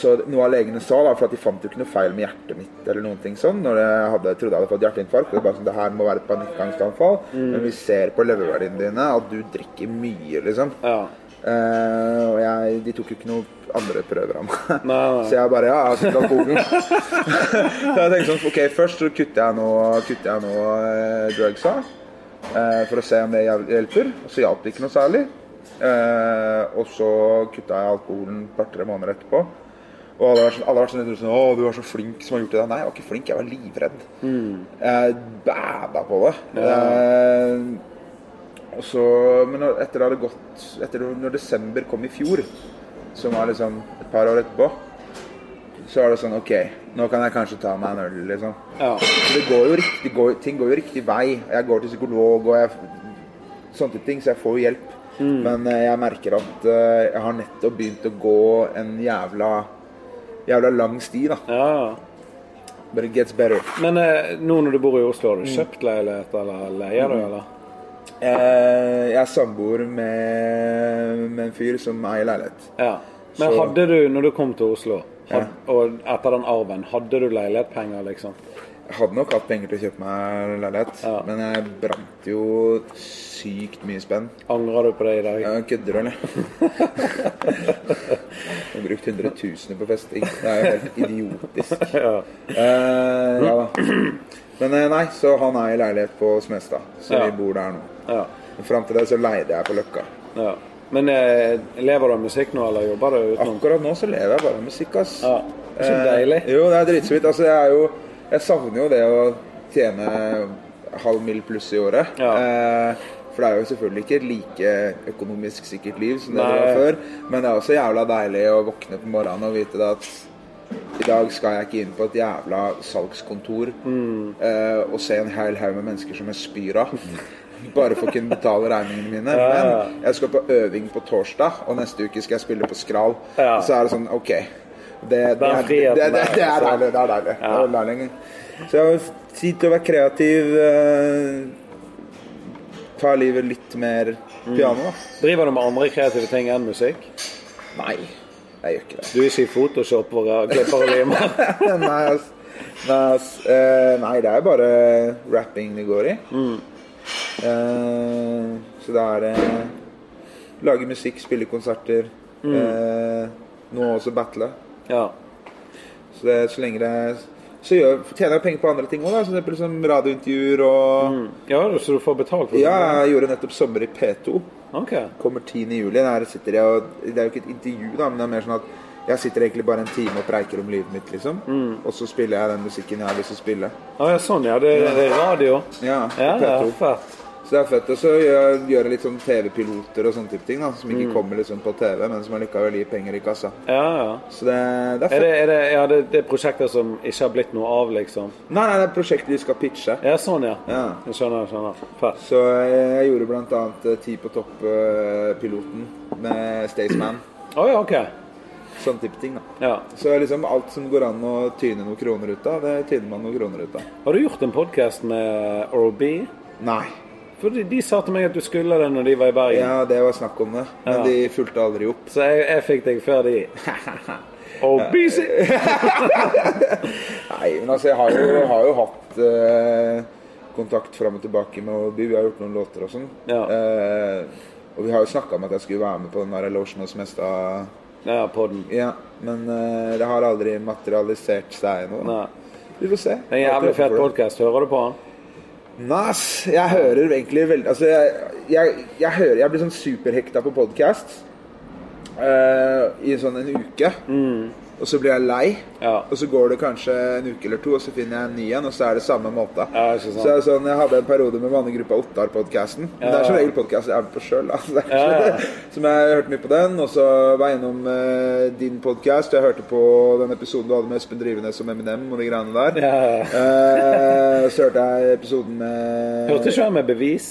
Speaker 2: så noe av legene sa, da, for at de fant jo ikke noe feil med hjertet mitt eller noen ting sånn, når jeg hadde, trodde jeg hadde fått hjerteinfarkt. Det, bare sånn, det her må være et panikkangstanfall. Men vi ser på leververdiene dine at du drikker mye, liksom.
Speaker 1: ja.
Speaker 2: Eh, og jeg, de tok jo ikke noen andre prøver av meg.
Speaker 1: nei.
Speaker 2: Så jeg bare Ja, jeg har sittet alkoholen. så jeg tenkte sånn Ok, først så kutter jeg nå, kutter jeg nå eh, drugsa. eh, for å se om det hjel- hjelper. Og så hjalp det ikke noe særlig. Eh, og så kutta jeg alkoholen et par-tre måneder etterpå. Og alle var sånn, alle var sånn, litt sånn Å, du var så flink som har gjort det. Nei, jeg var ikke flink. Jeg var livredd. Jeg bæda på det. Eh, og så, men når- etter det hadde gått etter Når desember kom i fjor, som var liksom et par år etterpå, så var det sånn OK, nå kan jeg kanskje ta meg en øl, liksom.
Speaker 1: ja.
Speaker 2: For det går jo riktig, går, ting går jo riktig vei. Jeg går til psykolog og jeg, sånne type ting, så jeg får jo hjelp. Men eh, jeg merker at eh, jeg har nettopp begynt å gå en jævla jævla lang sti, da.
Speaker 1: ja. ja.
Speaker 2: But it gets better.
Speaker 1: Men eh, nå når du bor i Oslo,
Speaker 2: Mm.
Speaker 1: har du kjøpt leilighet, eller leier du, eller?
Speaker 2: Eh, jeg er samboer med, med en fyr som eier leilighet.
Speaker 1: Ja. Men
Speaker 2: Så-
Speaker 1: hadde du, når du kom til Oslo, had, og etter den arven, hadde du leilighetpenger, liksom?
Speaker 2: Jeg hadde nok hatt penger til å kjøpe meg leilighet,
Speaker 1: Ja.
Speaker 2: men jeg brant jo sykt mye spenn.
Speaker 1: Angrer du på det i dag?
Speaker 2: Jeg kødder du, eller? Jeg har brukt hundretusener på festing. Det er jo helt idiotisk.
Speaker 1: Ja.
Speaker 2: Eh, ja da. Men eh, nei, så han eier leilighet på Smestad, så
Speaker 1: Ja.
Speaker 2: vi bor der nå.
Speaker 1: ja.
Speaker 2: Men Fram til det så leide jeg på Løkka.
Speaker 1: ja. Men eh, lever du av musikk nå, eller jobber du utenom?
Speaker 2: Akkurat nå så lever jeg bare av musikk, ass.
Speaker 1: Ja. Det er så deilig.
Speaker 2: Eh, jo, det er dritsvitt. Altså, jeg er jo Jeg savner jo det å tjene halv mil pluss i året.
Speaker 1: Ja.
Speaker 2: Eh, for det er jo selvfølgelig ikke et like økonomisk sikkert liv som det det
Speaker 1: Nei.
Speaker 2: var før. Men det er også jævla deilig å våkne på morgenen og vite det at i dag skal jeg ikke inn på et jævla salgskontor
Speaker 1: Mm.
Speaker 2: eh, og se en hel haug med mennesker som jeg spyr av. Bare for å kunne betale regningene mine.
Speaker 1: Ja.
Speaker 2: Men jeg skal på øving på torsdag, og neste uke skal jeg spille på Skral.
Speaker 1: Ja.
Speaker 2: Så er det sånn OK. Det, det,
Speaker 1: Den
Speaker 2: er, det,
Speaker 1: friheten
Speaker 2: det, det,
Speaker 1: der,
Speaker 2: det er
Speaker 1: altså.
Speaker 2: deilig. Det er deilig. Det er deilig. Så jeg har tid til å være kreativ. Eh, ta livet litt mer piano,
Speaker 1: Mm.
Speaker 2: da.
Speaker 1: Driver du med andre kreative ting enn musikk?
Speaker 2: Nei, jeg gjør ikke det.
Speaker 1: Du er ikke i Photoshop og eh, klipper og limer?
Speaker 2: nei, ass. Nei, ass. Eh, nei, det er bare rapping det går i. Eh, så det er eh, Lage musikk, spille konserter. Eh, nå også battle.
Speaker 1: Ja.
Speaker 2: Så, det, så lenge det Så gjør, tjener jeg penger på andre ting òg, som for eksempel som radiointervjuer og
Speaker 1: Mm. ja, så du får betalt for det?
Speaker 2: Ja, jeg gjorde nettopp sommer i P2.
Speaker 1: Ok.
Speaker 2: Kommer 10. juli. Der sitter jeg og Det er jo ikke et intervju, da, men det er mer sånn at jeg sitter egentlig bare en time og preiker om livet mitt, liksom. Og så spiller jeg den musikken jeg har lyst til å spille.
Speaker 1: Å ja, sånn ja. Det, det er radio?
Speaker 2: Ja,
Speaker 1: Ja,
Speaker 2: på
Speaker 1: det
Speaker 2: P2.
Speaker 1: er fett.
Speaker 2: Så det er fett. Og så gjør gjør jeg litt sånn TV-piloter og sånne type ting, da. Som ikke
Speaker 1: Mm.
Speaker 2: kommer liksom på TV, men som allikevel gir penger i kassa.
Speaker 1: Ja, ja.
Speaker 2: Så det, det er
Speaker 1: Er
Speaker 2: fett.
Speaker 1: det, er det, ja, det, det er prosjekter som ikke har blitt noe av, liksom?
Speaker 2: Nei, nei, det er prosjektet vi skal pitche.
Speaker 1: Ja, sånn, ja.
Speaker 2: Ja.
Speaker 1: Jeg skjønner, jeg skjønner. Fett.
Speaker 2: Så jeg, jeg gjorde blant eh, annet eh, Ti på topp-piloten med Staysman.
Speaker 1: Å ja, ok.
Speaker 2: Sånn type ting, da.
Speaker 1: Ja.
Speaker 2: Så liksom alt som går an å tyne noen kroner ut av, det tyner man noen kroner ut av.
Speaker 1: Har du gjort en podkast med Oral B?
Speaker 2: Nei.
Speaker 1: For de, de sa til meg at du skulle det når de var i Bergen.
Speaker 2: Ja, det var snakk om det, men
Speaker 1: Ja.
Speaker 2: de fulgte aldri opp.
Speaker 1: Så jeg, jeg fikk deg før de. Oral B si-
Speaker 2: Nei, men altså, jeg har jo, jeg har jo hatt eh, kontakt fram og tilbake med Obi. Vi har gjort noen låter og sånn.
Speaker 1: Ja.
Speaker 2: Eh, og vi har jo snakka om at jeg skulle være med på den der Lotion hos Mesta.
Speaker 1: Ja, podden.
Speaker 2: Ja, men eh, det har aldri materialisert seg ennå. da.
Speaker 1: Nei.
Speaker 2: Vi får se.
Speaker 1: Det er en jævlig fet podkast. Hører du på den?
Speaker 2: Nei, ass. Jeg hører egentlig veldig Altså, jeg, jeg, jeg hører Jeg blir sånn superhekta på podkast i sånn en uke. Og så blir jeg lei.
Speaker 1: Mm. Ja.
Speaker 2: Og så går det kanskje en uke eller to, og så finner jeg en ny en, og så er det samme måte.
Speaker 1: Ja, ikke sant.
Speaker 2: så jeg, sånn, jeg hadde en periode med vannegruppa Ottar-podkasten. Men Det er som regel podkast jeg er med på sjøl. Altså,
Speaker 1: Ja, ja.
Speaker 2: Som jeg hørte mye på den, og så var jeg innom eh, din podkast. Jeg hørte på den episoden du hadde med Espen Drivenes om Eminem og de greiene der.
Speaker 1: Ja, ja, ja.
Speaker 2: Eh, så hørte jeg episoden med
Speaker 1: Hørte ikke han med bevis?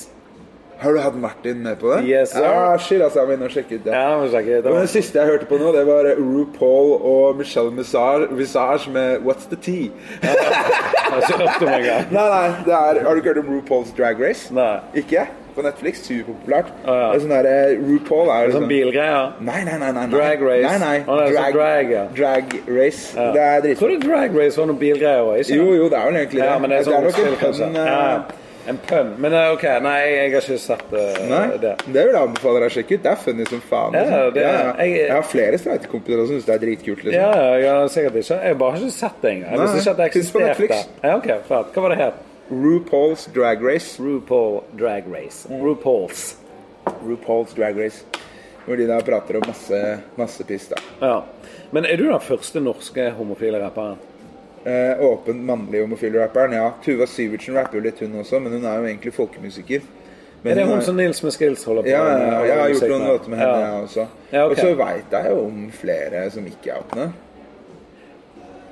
Speaker 2: Har du hatt Martin med på det?
Speaker 1: Yes, sir.
Speaker 2: ah, shit, altså, jeg må inn og sjekke ut det.
Speaker 1: Ja, det var kjekt. Det
Speaker 2: Men
Speaker 1: var-
Speaker 2: det siste jeg hørte på nå, det var RuPaul og Michelle Visage, Visage med What's the Tea?
Speaker 1: Jeg har ikke hørt om engang.
Speaker 2: Nei, nei, det er, Har du ikke hørt om RuPaul's Drag Race?
Speaker 1: Nei.
Speaker 2: Ikke? På Netflix. Superpopulært.
Speaker 1: ja.
Speaker 2: Det er sånn der, eh, RuPaul er
Speaker 1: Sånn
Speaker 2: liksom
Speaker 1: bilgreier.
Speaker 2: Nei, nei, nei. nei, nei.
Speaker 1: Drag race.
Speaker 2: Nei, nei.
Speaker 1: Å, det er sånn drag, ja.
Speaker 2: drag race. Det er
Speaker 1: Jeg tror
Speaker 2: dritbra.
Speaker 1: det Drag Race var noen bilgreier òg.
Speaker 2: Jo, jo, det er vel egentlig
Speaker 1: Ja,
Speaker 2: det.
Speaker 1: men det er
Speaker 2: det
Speaker 1: sånn
Speaker 2: er nok en
Speaker 1: spill, kanskje.
Speaker 2: pønn eh.
Speaker 1: Ja, en pønn. Men eh, OK, nei, jeg har ikke sett eh,
Speaker 2: Nei,
Speaker 1: det.
Speaker 2: det. vil jeg anbefale deg å sjekke ut. Det er funny som faen.
Speaker 1: Ja,
Speaker 2: liksom.
Speaker 1: det er-
Speaker 2: Jeg,
Speaker 1: jeg-
Speaker 2: har flere streitekompiser som syns det er dritkult. Liksom.
Speaker 1: Ja, ja, ja, sikkert ikke. Jeg bare har ikke sett det engang. Jeg visste
Speaker 2: Nei,
Speaker 1: ikke at det
Speaker 2: finnes på
Speaker 1: eksisterte.
Speaker 2: Netflix.
Speaker 1: Ja, ok, fett. Hva var det het?
Speaker 2: RuPaul's Drag Race.
Speaker 1: RuPaul Drag Race.
Speaker 2: Mm.
Speaker 1: RuPauls.
Speaker 2: RuPaul's Drag Race Hvor de da prater om masse, masse piss. da
Speaker 1: Ja. Men er du den første norske homofile rapperen?
Speaker 2: eh, Åpen mannlig homofil rapperen. Ja, Tuva Syvertsen rapper jo litt, hun også, men hun er jo egentlig folkemusiker. Men
Speaker 1: Er det hun
Speaker 2: er-
Speaker 1: som Nils med Skills holder på
Speaker 2: ja, ja, ja,
Speaker 1: med?
Speaker 2: jeg har gjort
Speaker 1: musikk
Speaker 2: noen låter med henne, jeg også.
Speaker 1: Ja, ok.
Speaker 2: Og så veit jeg jo om flere som ikke er åpne.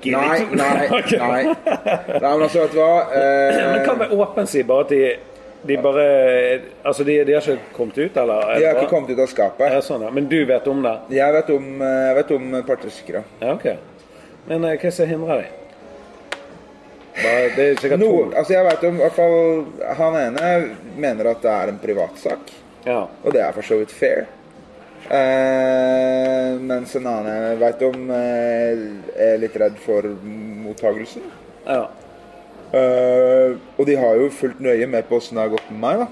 Speaker 1: Gidder
Speaker 2: Nei,
Speaker 1: ikke.
Speaker 2: nei,
Speaker 1: Ok.
Speaker 2: nei. nei men altså, vet du hva eh,
Speaker 1: Men hva med åpen si? Bare at de, de bare Altså, de, de har ikke kommet ut, eller?
Speaker 2: De har ikke kommet ut av skapet.
Speaker 1: Ja, sånn, ja. Men du vet om det?
Speaker 2: Jeg vet om, eh, jeg vet om et par-tre stykker. ja.
Speaker 1: Ja, ok. Men eh, hva er det som hindrer deg? Bare, det er sikkert
Speaker 2: Noe,
Speaker 1: to.
Speaker 2: altså jeg vet om i hvert fall Han ene mener at det er en privatsak,
Speaker 1: Ja.
Speaker 2: og det er for så vidt fair. Eh, mens en annen jeg vet om, eh, er litt redd for mottagelsen.
Speaker 1: ja.
Speaker 2: Eh, og de har jo fulgt nøye med på åssen det har gått med meg. da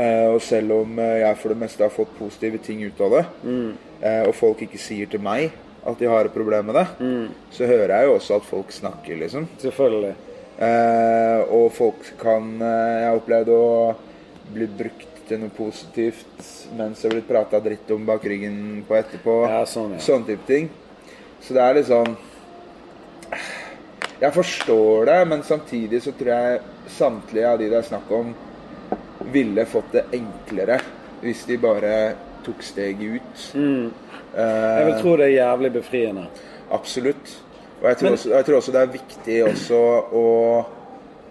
Speaker 2: Eh, Og selv om eh, jeg for det meste har fått positive ting ut av det, eh, og folk ikke sier til meg at de har et problem med det, så hører jeg jo også at folk snakker, liksom.
Speaker 1: Selvfølgelig.
Speaker 2: Eh, og folk kan eh, Jeg har opplevd å bli brukt til noe positivt mens det har blitt prata dritt om bak ryggen på etterpå.
Speaker 1: Ja, sånn, ja.
Speaker 2: Sånn type ting. Så det er litt sånn Jeg forstår det, men samtidig så tror jeg samtlige av de det er snakk om, ville fått det enklere hvis de bare tok steget
Speaker 1: Mm.
Speaker 2: ut. Eh,
Speaker 1: Jeg vil tro det er jævlig befriende.
Speaker 2: Absolutt. Og jeg tror, også, jeg tror også det er viktig også å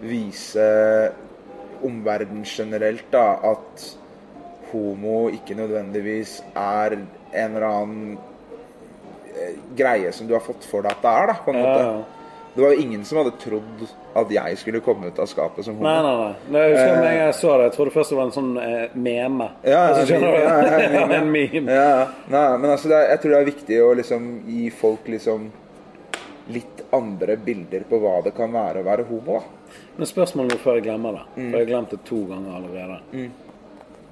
Speaker 2: vise omverdenen generelt da, at homo ikke nødvendigvis er en eller annen eh, greie som du har fått for deg at det er, da, på en
Speaker 1: Ja,
Speaker 2: måte.
Speaker 1: ja.
Speaker 2: Det var jo ingen som hadde trodd at jeg skulle komme ut av skapet som homo.
Speaker 1: Nei, nei, nei. Nei, Jeg husker når jeg så det. Jeg trodde først det var en sånn eh, meme.
Speaker 2: Ja,
Speaker 1: Og så skjønner
Speaker 2: ja, ja,
Speaker 1: du?
Speaker 2: ja, ja.
Speaker 1: en meme.
Speaker 2: Ja, ja. nei, men altså det er, jeg tror det er viktig å liksom gi folk liksom litt andre bilder på hva det kan være å være homo. da.
Speaker 1: Men spørsmålet nå før jeg glemmer det,
Speaker 2: Mm.
Speaker 1: for jeg har glemt det to ganger allerede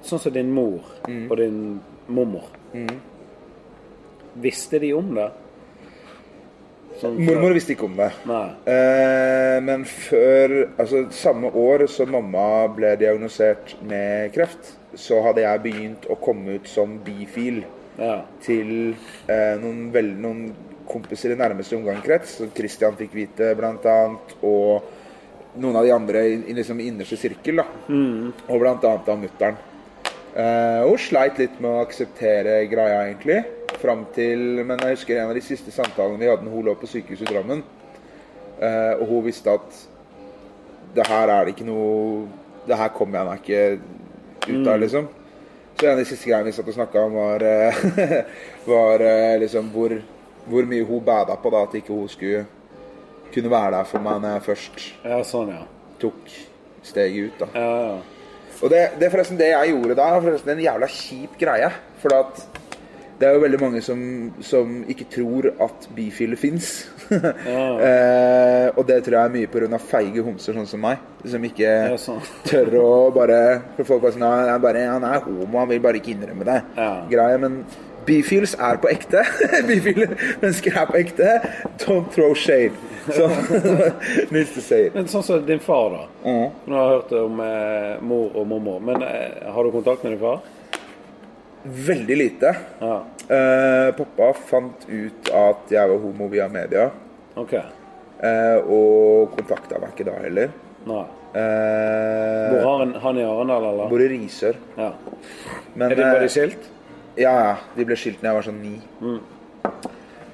Speaker 1: Sånn som din mor
Speaker 2: Mm.
Speaker 1: og din mormor. Visste de om det? Sånn,
Speaker 2: Mormor visste ikke om det.
Speaker 1: Nei.
Speaker 2: Eh, men før Altså samme år som mamma ble diagnosert med kreft, så hadde jeg begynt å komme ut som bifil
Speaker 1: Ja.
Speaker 2: til eh, noen, vel, noen kompiser i nærmeste omgangskrets, som Christian fikk vite bl.a., og noen av de andre i, i liksom innerste sirkel, da. Og bl.a. av mutter'n. Eh, hun sleit litt med å akseptere greia, egentlig. Fram til Men jeg husker en av de siste samtalene vi hadde når hun lå på sykehuset i Drammen. Eh, og hun visste at det her er det ikke noe Det her kommer jeg meg ikke ut av, liksom. Så Så en av de siste greiene vi satt og snakka om, var, eh, var eh, liksom hvor, hvor mye hun bada på da, at ikke hun skulle kunne være der for meg når jeg først
Speaker 1: Ja, sånn, ja.
Speaker 2: tok steget ut. da.
Speaker 1: Ja, ja.
Speaker 2: Og det, det er forresten det jeg gjorde da, er forresten en jævla kjip greie. For at det er jo veldig mange som, som ikke tror at bifile fins. eh, og det tror jeg er mye pga. feige homser sånn som meg. Som ikke
Speaker 1: Ja, sånn.
Speaker 2: tør å bare For folk bare sånn «Nei, han er bare, Han er homo, han vil bare ikke innrømme det.
Speaker 1: Ja.
Speaker 2: Greie, men bifils er på ekte. bifile mennesker er på ekte. Don't throw shade. Som Nils sier.
Speaker 1: Men sånn som din far, da. Nå har jeg hørt om eh, mor og mormor. Men eh, har du kontakt med din far?
Speaker 2: Veldig lite.
Speaker 1: Ja.
Speaker 2: Eh, pappa fant ut at jeg var homo via media,
Speaker 1: OK.
Speaker 2: eh, og kontakta meg ikke da heller.
Speaker 1: Nei.
Speaker 2: Eh,
Speaker 1: Bor han, han i Arendal, eller?
Speaker 2: bor i Risør.
Speaker 1: Ja.
Speaker 2: Men
Speaker 1: Er de
Speaker 2: eh,
Speaker 1: bare skilt? Mm.
Speaker 2: ja, ja, de ble skilt da jeg var sånn ni.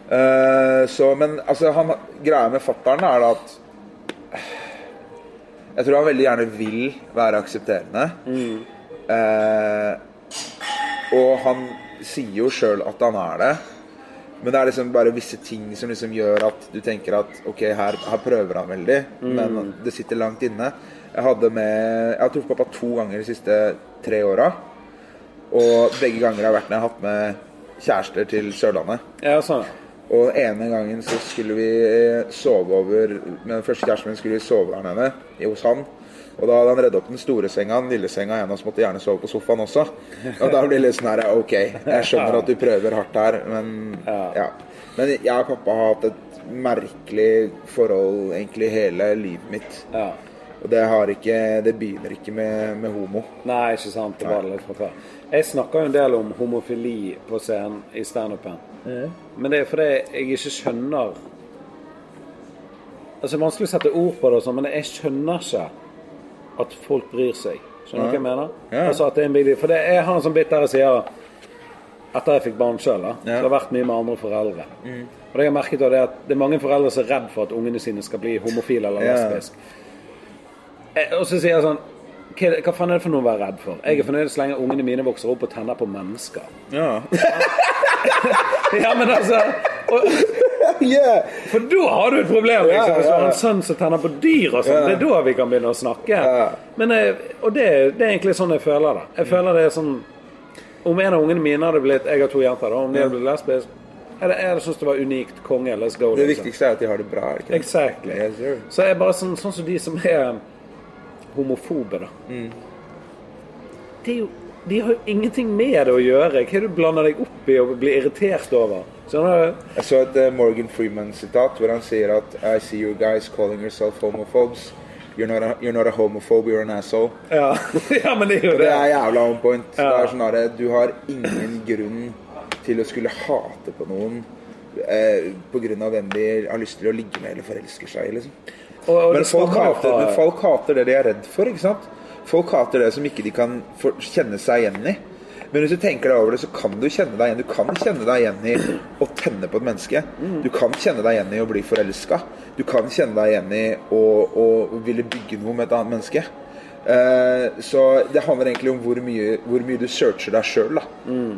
Speaker 2: Eh, så, men altså, han, greia med fattern er da at Jeg tror han veldig gjerne vil være aksepterende.
Speaker 1: Mm.
Speaker 2: Eh, og han sier jo sjøl at han er det. Men det er liksom bare visse ting som liksom gjør at du tenker at ok, her, her prøver han veldig,
Speaker 1: Mm.
Speaker 2: men det sitter langt inne. Jeg hadde med Jeg har truffet pappa to ganger de siste tre åra. Og begge ganger har jeg vært når jeg har hatt med kjærester til Sørlandet.
Speaker 1: Ja, sånn, ja.
Speaker 2: Og den ene gangen så skulle vi eh, sove over Med den første kjæresten min skulle vi sove der nede, i- hos han. Og da hadde han redd opp den store senga, den lille senga. En av oss måtte gjerne sove på sofaen også. Og da blir det litt sånn her Ok, jeg skjønner at du prøver hardt her, men
Speaker 1: Ja.
Speaker 2: ja. Men jeg og pappa har hatt et merkelig forhold egentlig hele livet mitt.
Speaker 1: ja.
Speaker 2: Og det har ikke Det begynner ikke med, med homo.
Speaker 1: Nei, ikke sant. Det var det litt fra før. Jeg snakker jo en del om homofili på scenen i standupen. Men det er fordi jeg ikke skjønner Altså, Det er vanskelig å sette ord på det, og sånn, men jeg skjønner ikke at folk bryr seg. Skjønner du hva jeg mener?
Speaker 2: Ja.
Speaker 1: Altså at det er en big deal. For det, jeg har en sånn bit der jeg sier etter jeg fikk barn sjøl, da. Det har vært mye med andre foreldre.
Speaker 2: Mm.
Speaker 1: Og det jeg har merket, da, det er at det er mange foreldre som er redd for at ungene sine skal bli homofile eller
Speaker 2: Ja.
Speaker 1: lesbiske. Eh, Og så sier jeg sånn hva, er det- hva faen er det for noe å være redd for? Jeg er fornøyd så lenge ungene mine vokser opp og tenner på mennesker.
Speaker 2: Ja.
Speaker 1: Ja, men altså og,
Speaker 2: yeah.
Speaker 1: For da har du et problem!
Speaker 2: Ja,
Speaker 1: Liksom. Hvis du
Speaker 2: ja,
Speaker 1: har
Speaker 2: ja.
Speaker 1: en sønn som tenner på dyr og sånn, det er da vi kan begynne å snakke. Men, eh, og det, det er egentlig sånn jeg føler det. Jeg føler det er sånn Om en av ungene mine hadde blitt Jeg har to jenter, da. Om de hadde blitt lesbisk Jeg, jeg syns det var unikt. Konge, let's go.
Speaker 2: Det
Speaker 1: liksom.
Speaker 2: viktigste er at de har det bra. er det Ikke? det?
Speaker 1: Exactly.
Speaker 2: Yes, sir.
Speaker 1: Så jeg er bare sånn, sånn som de som er homofobe, da.
Speaker 2: Mm.
Speaker 1: Det er jo, de har jo ingenting med det å gjøre. Hva er det du blander deg opp i og blir irritert over? Skjønner du?
Speaker 2: Jeg så et eh, Morgan Freeman-sitat hvor han sier at I see you guys calling yourself homophobes. You're not a, you're not a homophobe, you're an asshole.
Speaker 1: Ja. ja, men det er jo
Speaker 2: Det
Speaker 1: det.
Speaker 2: er jævla on point. Det
Speaker 1: Ja.
Speaker 2: er sånn herre, Du har ingen grunn til å skulle hate på noen eh, pga. hvem de har lyst til å ligge med eller forelsker seg i. Liksom.
Speaker 1: Og, og
Speaker 2: Men
Speaker 1: det
Speaker 2: folk,
Speaker 1: stammer jo
Speaker 2: hater,
Speaker 1: fra-
Speaker 2: men folk hater det de er redd for, ikke sant? Folk hater det som ikke de kan for, kjenne seg igjen i. Men hvis du tenker deg over det, så kan du kjenne deg igjen. Du kan kjenne deg igjen i å tenne på et menneske.
Speaker 1: Mm.
Speaker 2: Du kan kjenne deg igjen i å bli forelska. Du kan kjenne deg igjen i å, å ville bygge noe med et annet menneske. Eh, så det handler egentlig om hvor mye, hvor mye du searcher deg sjøl, da.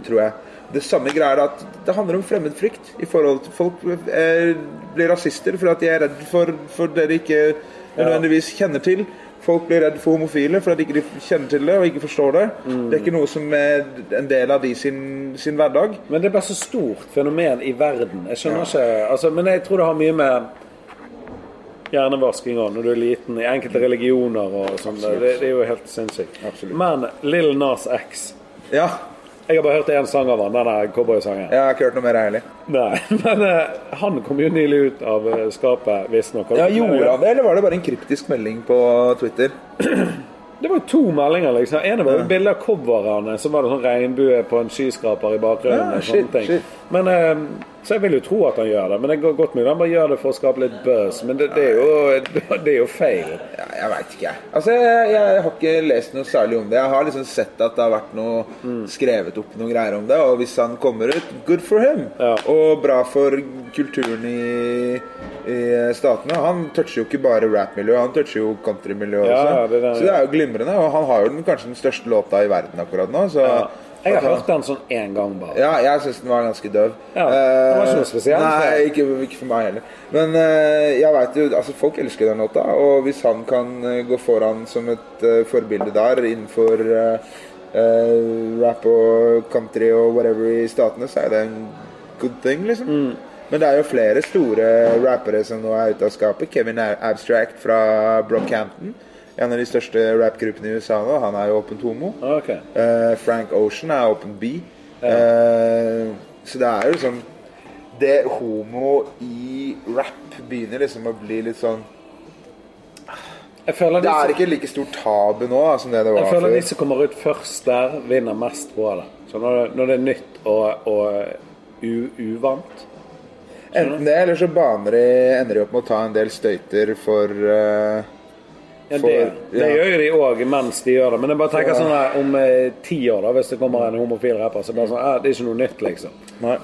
Speaker 2: Tror jeg. Det samme greia er at det handler om fremmedfrykt. I forhold til Folk eh, blir rasister fordi at de er redd for, for det de ikke nødvendigvis kjenner til. Folk blir redd for homofile fordi at de ikke kjenner til det og ikke forstår det. Det er ikke noe som er en del av de sin, sin hverdag.
Speaker 1: Men det er bare så stort fenomen i verden. Jeg skjønner ikke altså, Men jeg tror det har mye med hjernevasking av når du er liten, i enkelte religioner og sånn. Det, det er jo helt sinnssykt.
Speaker 2: Absolutt.
Speaker 1: Men Lill Nas X
Speaker 2: Ja,
Speaker 1: Jeg har bare hørt én sang av han, den der cowboysangen.
Speaker 2: jeg har ikke hørt noe mer, jeg heller.
Speaker 1: Nei, men eh, han kom jo nylig ut av eh, skapet, visstnok.
Speaker 2: Ja, gjorde han det, eller var det bare en kryptisk melding på Twitter?
Speaker 1: Det var jo to meldinger, liksom. En var jo bilde av coverne, så var det sånn regnbue på en skyskraper i bakgrunnen.
Speaker 2: Ja,
Speaker 1: og sånne
Speaker 2: shit,
Speaker 1: ting.
Speaker 2: shit.
Speaker 1: Men, eh, så jeg vil jo tro at han gjør det, men det går godt mulig han bare gjør det for å skape litt buzz. Men det, det, er, jo, det er jo feil.
Speaker 2: Ja, jeg veit ikke, jeg. Altså, jeg, jeg har ikke lest noe særlig om det. Jeg har liksom sett at det har vært noe skrevet opp noen greier om det. Og hvis han kommer ut, good for him.
Speaker 1: Ja.
Speaker 2: Og bra for kulturen i, i statene. Han toucher jo ikke bare rap-miljøet, han toucher jo country-miljøet
Speaker 1: Ja,
Speaker 2: også.
Speaker 1: ja, det er det han
Speaker 2: så det er jo glimrende. Og han har jo den, kanskje den største låta i verden akkurat nå, så
Speaker 1: Jeg har hørt den sånn én gang bare.
Speaker 2: Altså. Ja, jeg syns den var ganske døv.
Speaker 1: Ja, den var ikke noe
Speaker 2: Eh,
Speaker 1: spesiell, så-
Speaker 2: Nei, ikke, ikke for meg heller. Men eh, jeg vet jo Altså, folk elsker den låta, og hvis han kan eh, gå foran som et eh, forbilde der innenfor eh, eh, rap og country og whatever i statene, så er det en good thing, liksom.
Speaker 1: Mm.
Speaker 2: Men det er jo flere store rappere som nå er ute av skapet. Kevin Ab- Abstract fra Brockhampton. En av de største rappgruppene i USA nå. Han er jo åpent homo.
Speaker 1: Ok.
Speaker 2: Eh, Frank Ocean er Open B. Eh, så det er jo liksom Det homo i rap begynner liksom å bli litt sånn
Speaker 1: Jeg føler, de,
Speaker 2: Det er
Speaker 1: som-
Speaker 2: ikke like stor tabu nå da, som det det var
Speaker 1: jeg føler de
Speaker 2: før.
Speaker 1: som kommer ut først der, vinner mest på det. Så når, det- når det er nytt og, og u, uvant
Speaker 2: Enten det, eller så baner de, ender de opp med å ta en del støyter for eh,
Speaker 1: ja,
Speaker 2: For-
Speaker 1: det, det
Speaker 2: ja.
Speaker 1: gjør jo de òg mens de gjør det. Men jeg bare tenker
Speaker 2: Ja.
Speaker 1: sånn her, om eh, ti år, da, hvis det kommer en homofil rapper, så er det bare sånn eh, Det er ikke noe nytt, liksom.
Speaker 2: Men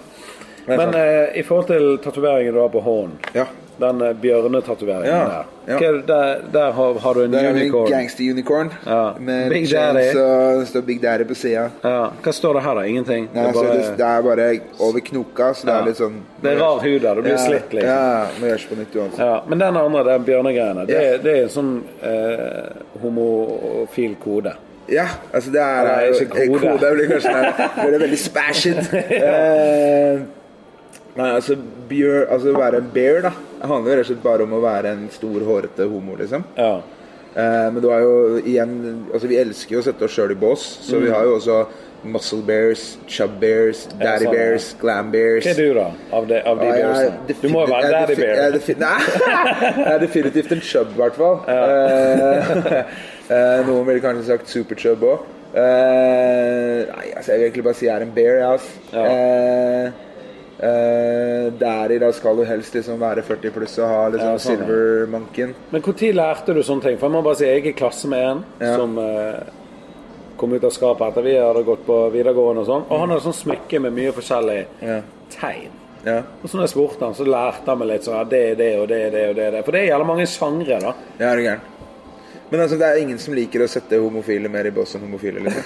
Speaker 1: Men eh, i forhold til tatoveringen du har på hånden,
Speaker 2: Ja.
Speaker 1: den eh, bjørnetatoveringen
Speaker 2: Ja,
Speaker 1: der
Speaker 2: ja.
Speaker 1: Hva er det- Der, der har, har du en
Speaker 2: Det er jo en
Speaker 1: unicorn.
Speaker 2: gangster-unicorn
Speaker 1: Ja.
Speaker 2: med
Speaker 1: Big Daddy.
Speaker 2: chains og det står Big Daddy på sida.
Speaker 1: Ja. Hva står det her, da? Ingenting?
Speaker 2: Nei,
Speaker 1: det, er bare,
Speaker 2: altså, det, det er bare over knoka, så det
Speaker 1: Ja.
Speaker 2: er litt sånn
Speaker 1: Det er rar hud der. Du blir slitt, liksom.
Speaker 2: Ja, må gjøres på nytt uansett.
Speaker 1: Ja, Men den andre, den bjørnegreiene, det,
Speaker 2: Ja.
Speaker 1: det er en sånn eh, homofil kode.
Speaker 2: Ja, altså det er,
Speaker 1: Nei,
Speaker 2: er jo
Speaker 1: ikke
Speaker 2: eh,
Speaker 1: kode.
Speaker 2: Kode blir kanskje det blir det veldig spashet. Eh, Nei, altså bjør, Altså å være en bear, da. Det handler jo rett og slett bare om å være en stor, hårete homo, liksom.
Speaker 1: Ja.
Speaker 2: Eh, men du har jo igjen Altså vi elsker jo å sette oss sjøl i bås, så vi har jo også muscle bears, chub bears, daddy
Speaker 1: sånn, ja.
Speaker 2: bears, glam bears.
Speaker 1: Hva er du, da? Av de, av de
Speaker 2: Ja, jeg er
Speaker 1: bearsene? Du må jo
Speaker 2: definitivt-
Speaker 1: være
Speaker 2: jeg er
Speaker 1: daddy
Speaker 2: defi- jeg er
Speaker 1: bear.
Speaker 2: defi- Nei, jeg er definitivt en chub, i hvert fall. Eh, eh, noen ville kanskje sagt superchub òg. nei, altså, jeg vil egentlig bare si jeg er en bear, jeg, ass.
Speaker 1: Ja.
Speaker 2: Eh, eh, der i dag skal du helst liksom være 40 pluss og ha liksom
Speaker 1: Ja, sånn, ja.
Speaker 2: silver monken.
Speaker 1: Men når lærte du sånne ting? For Jeg må bare si, jeg er i klasse med en
Speaker 2: Ja.
Speaker 1: som eh, kom ut av skapet etter vi hadde gått på videregående og sånn. Og han hadde sånn smykke med mye forskjellig
Speaker 2: Ja.
Speaker 1: tegn.
Speaker 2: Ja.
Speaker 1: Og så når jeg spurte han, så lærte han meg litt sånn ja, det er det og det er det og det er det. For det er jævla mange sjangre, da.
Speaker 2: Ja, er du gæren. Men altså, det er ingen som liker å sette homofile mer i bås enn homofile. Liksom.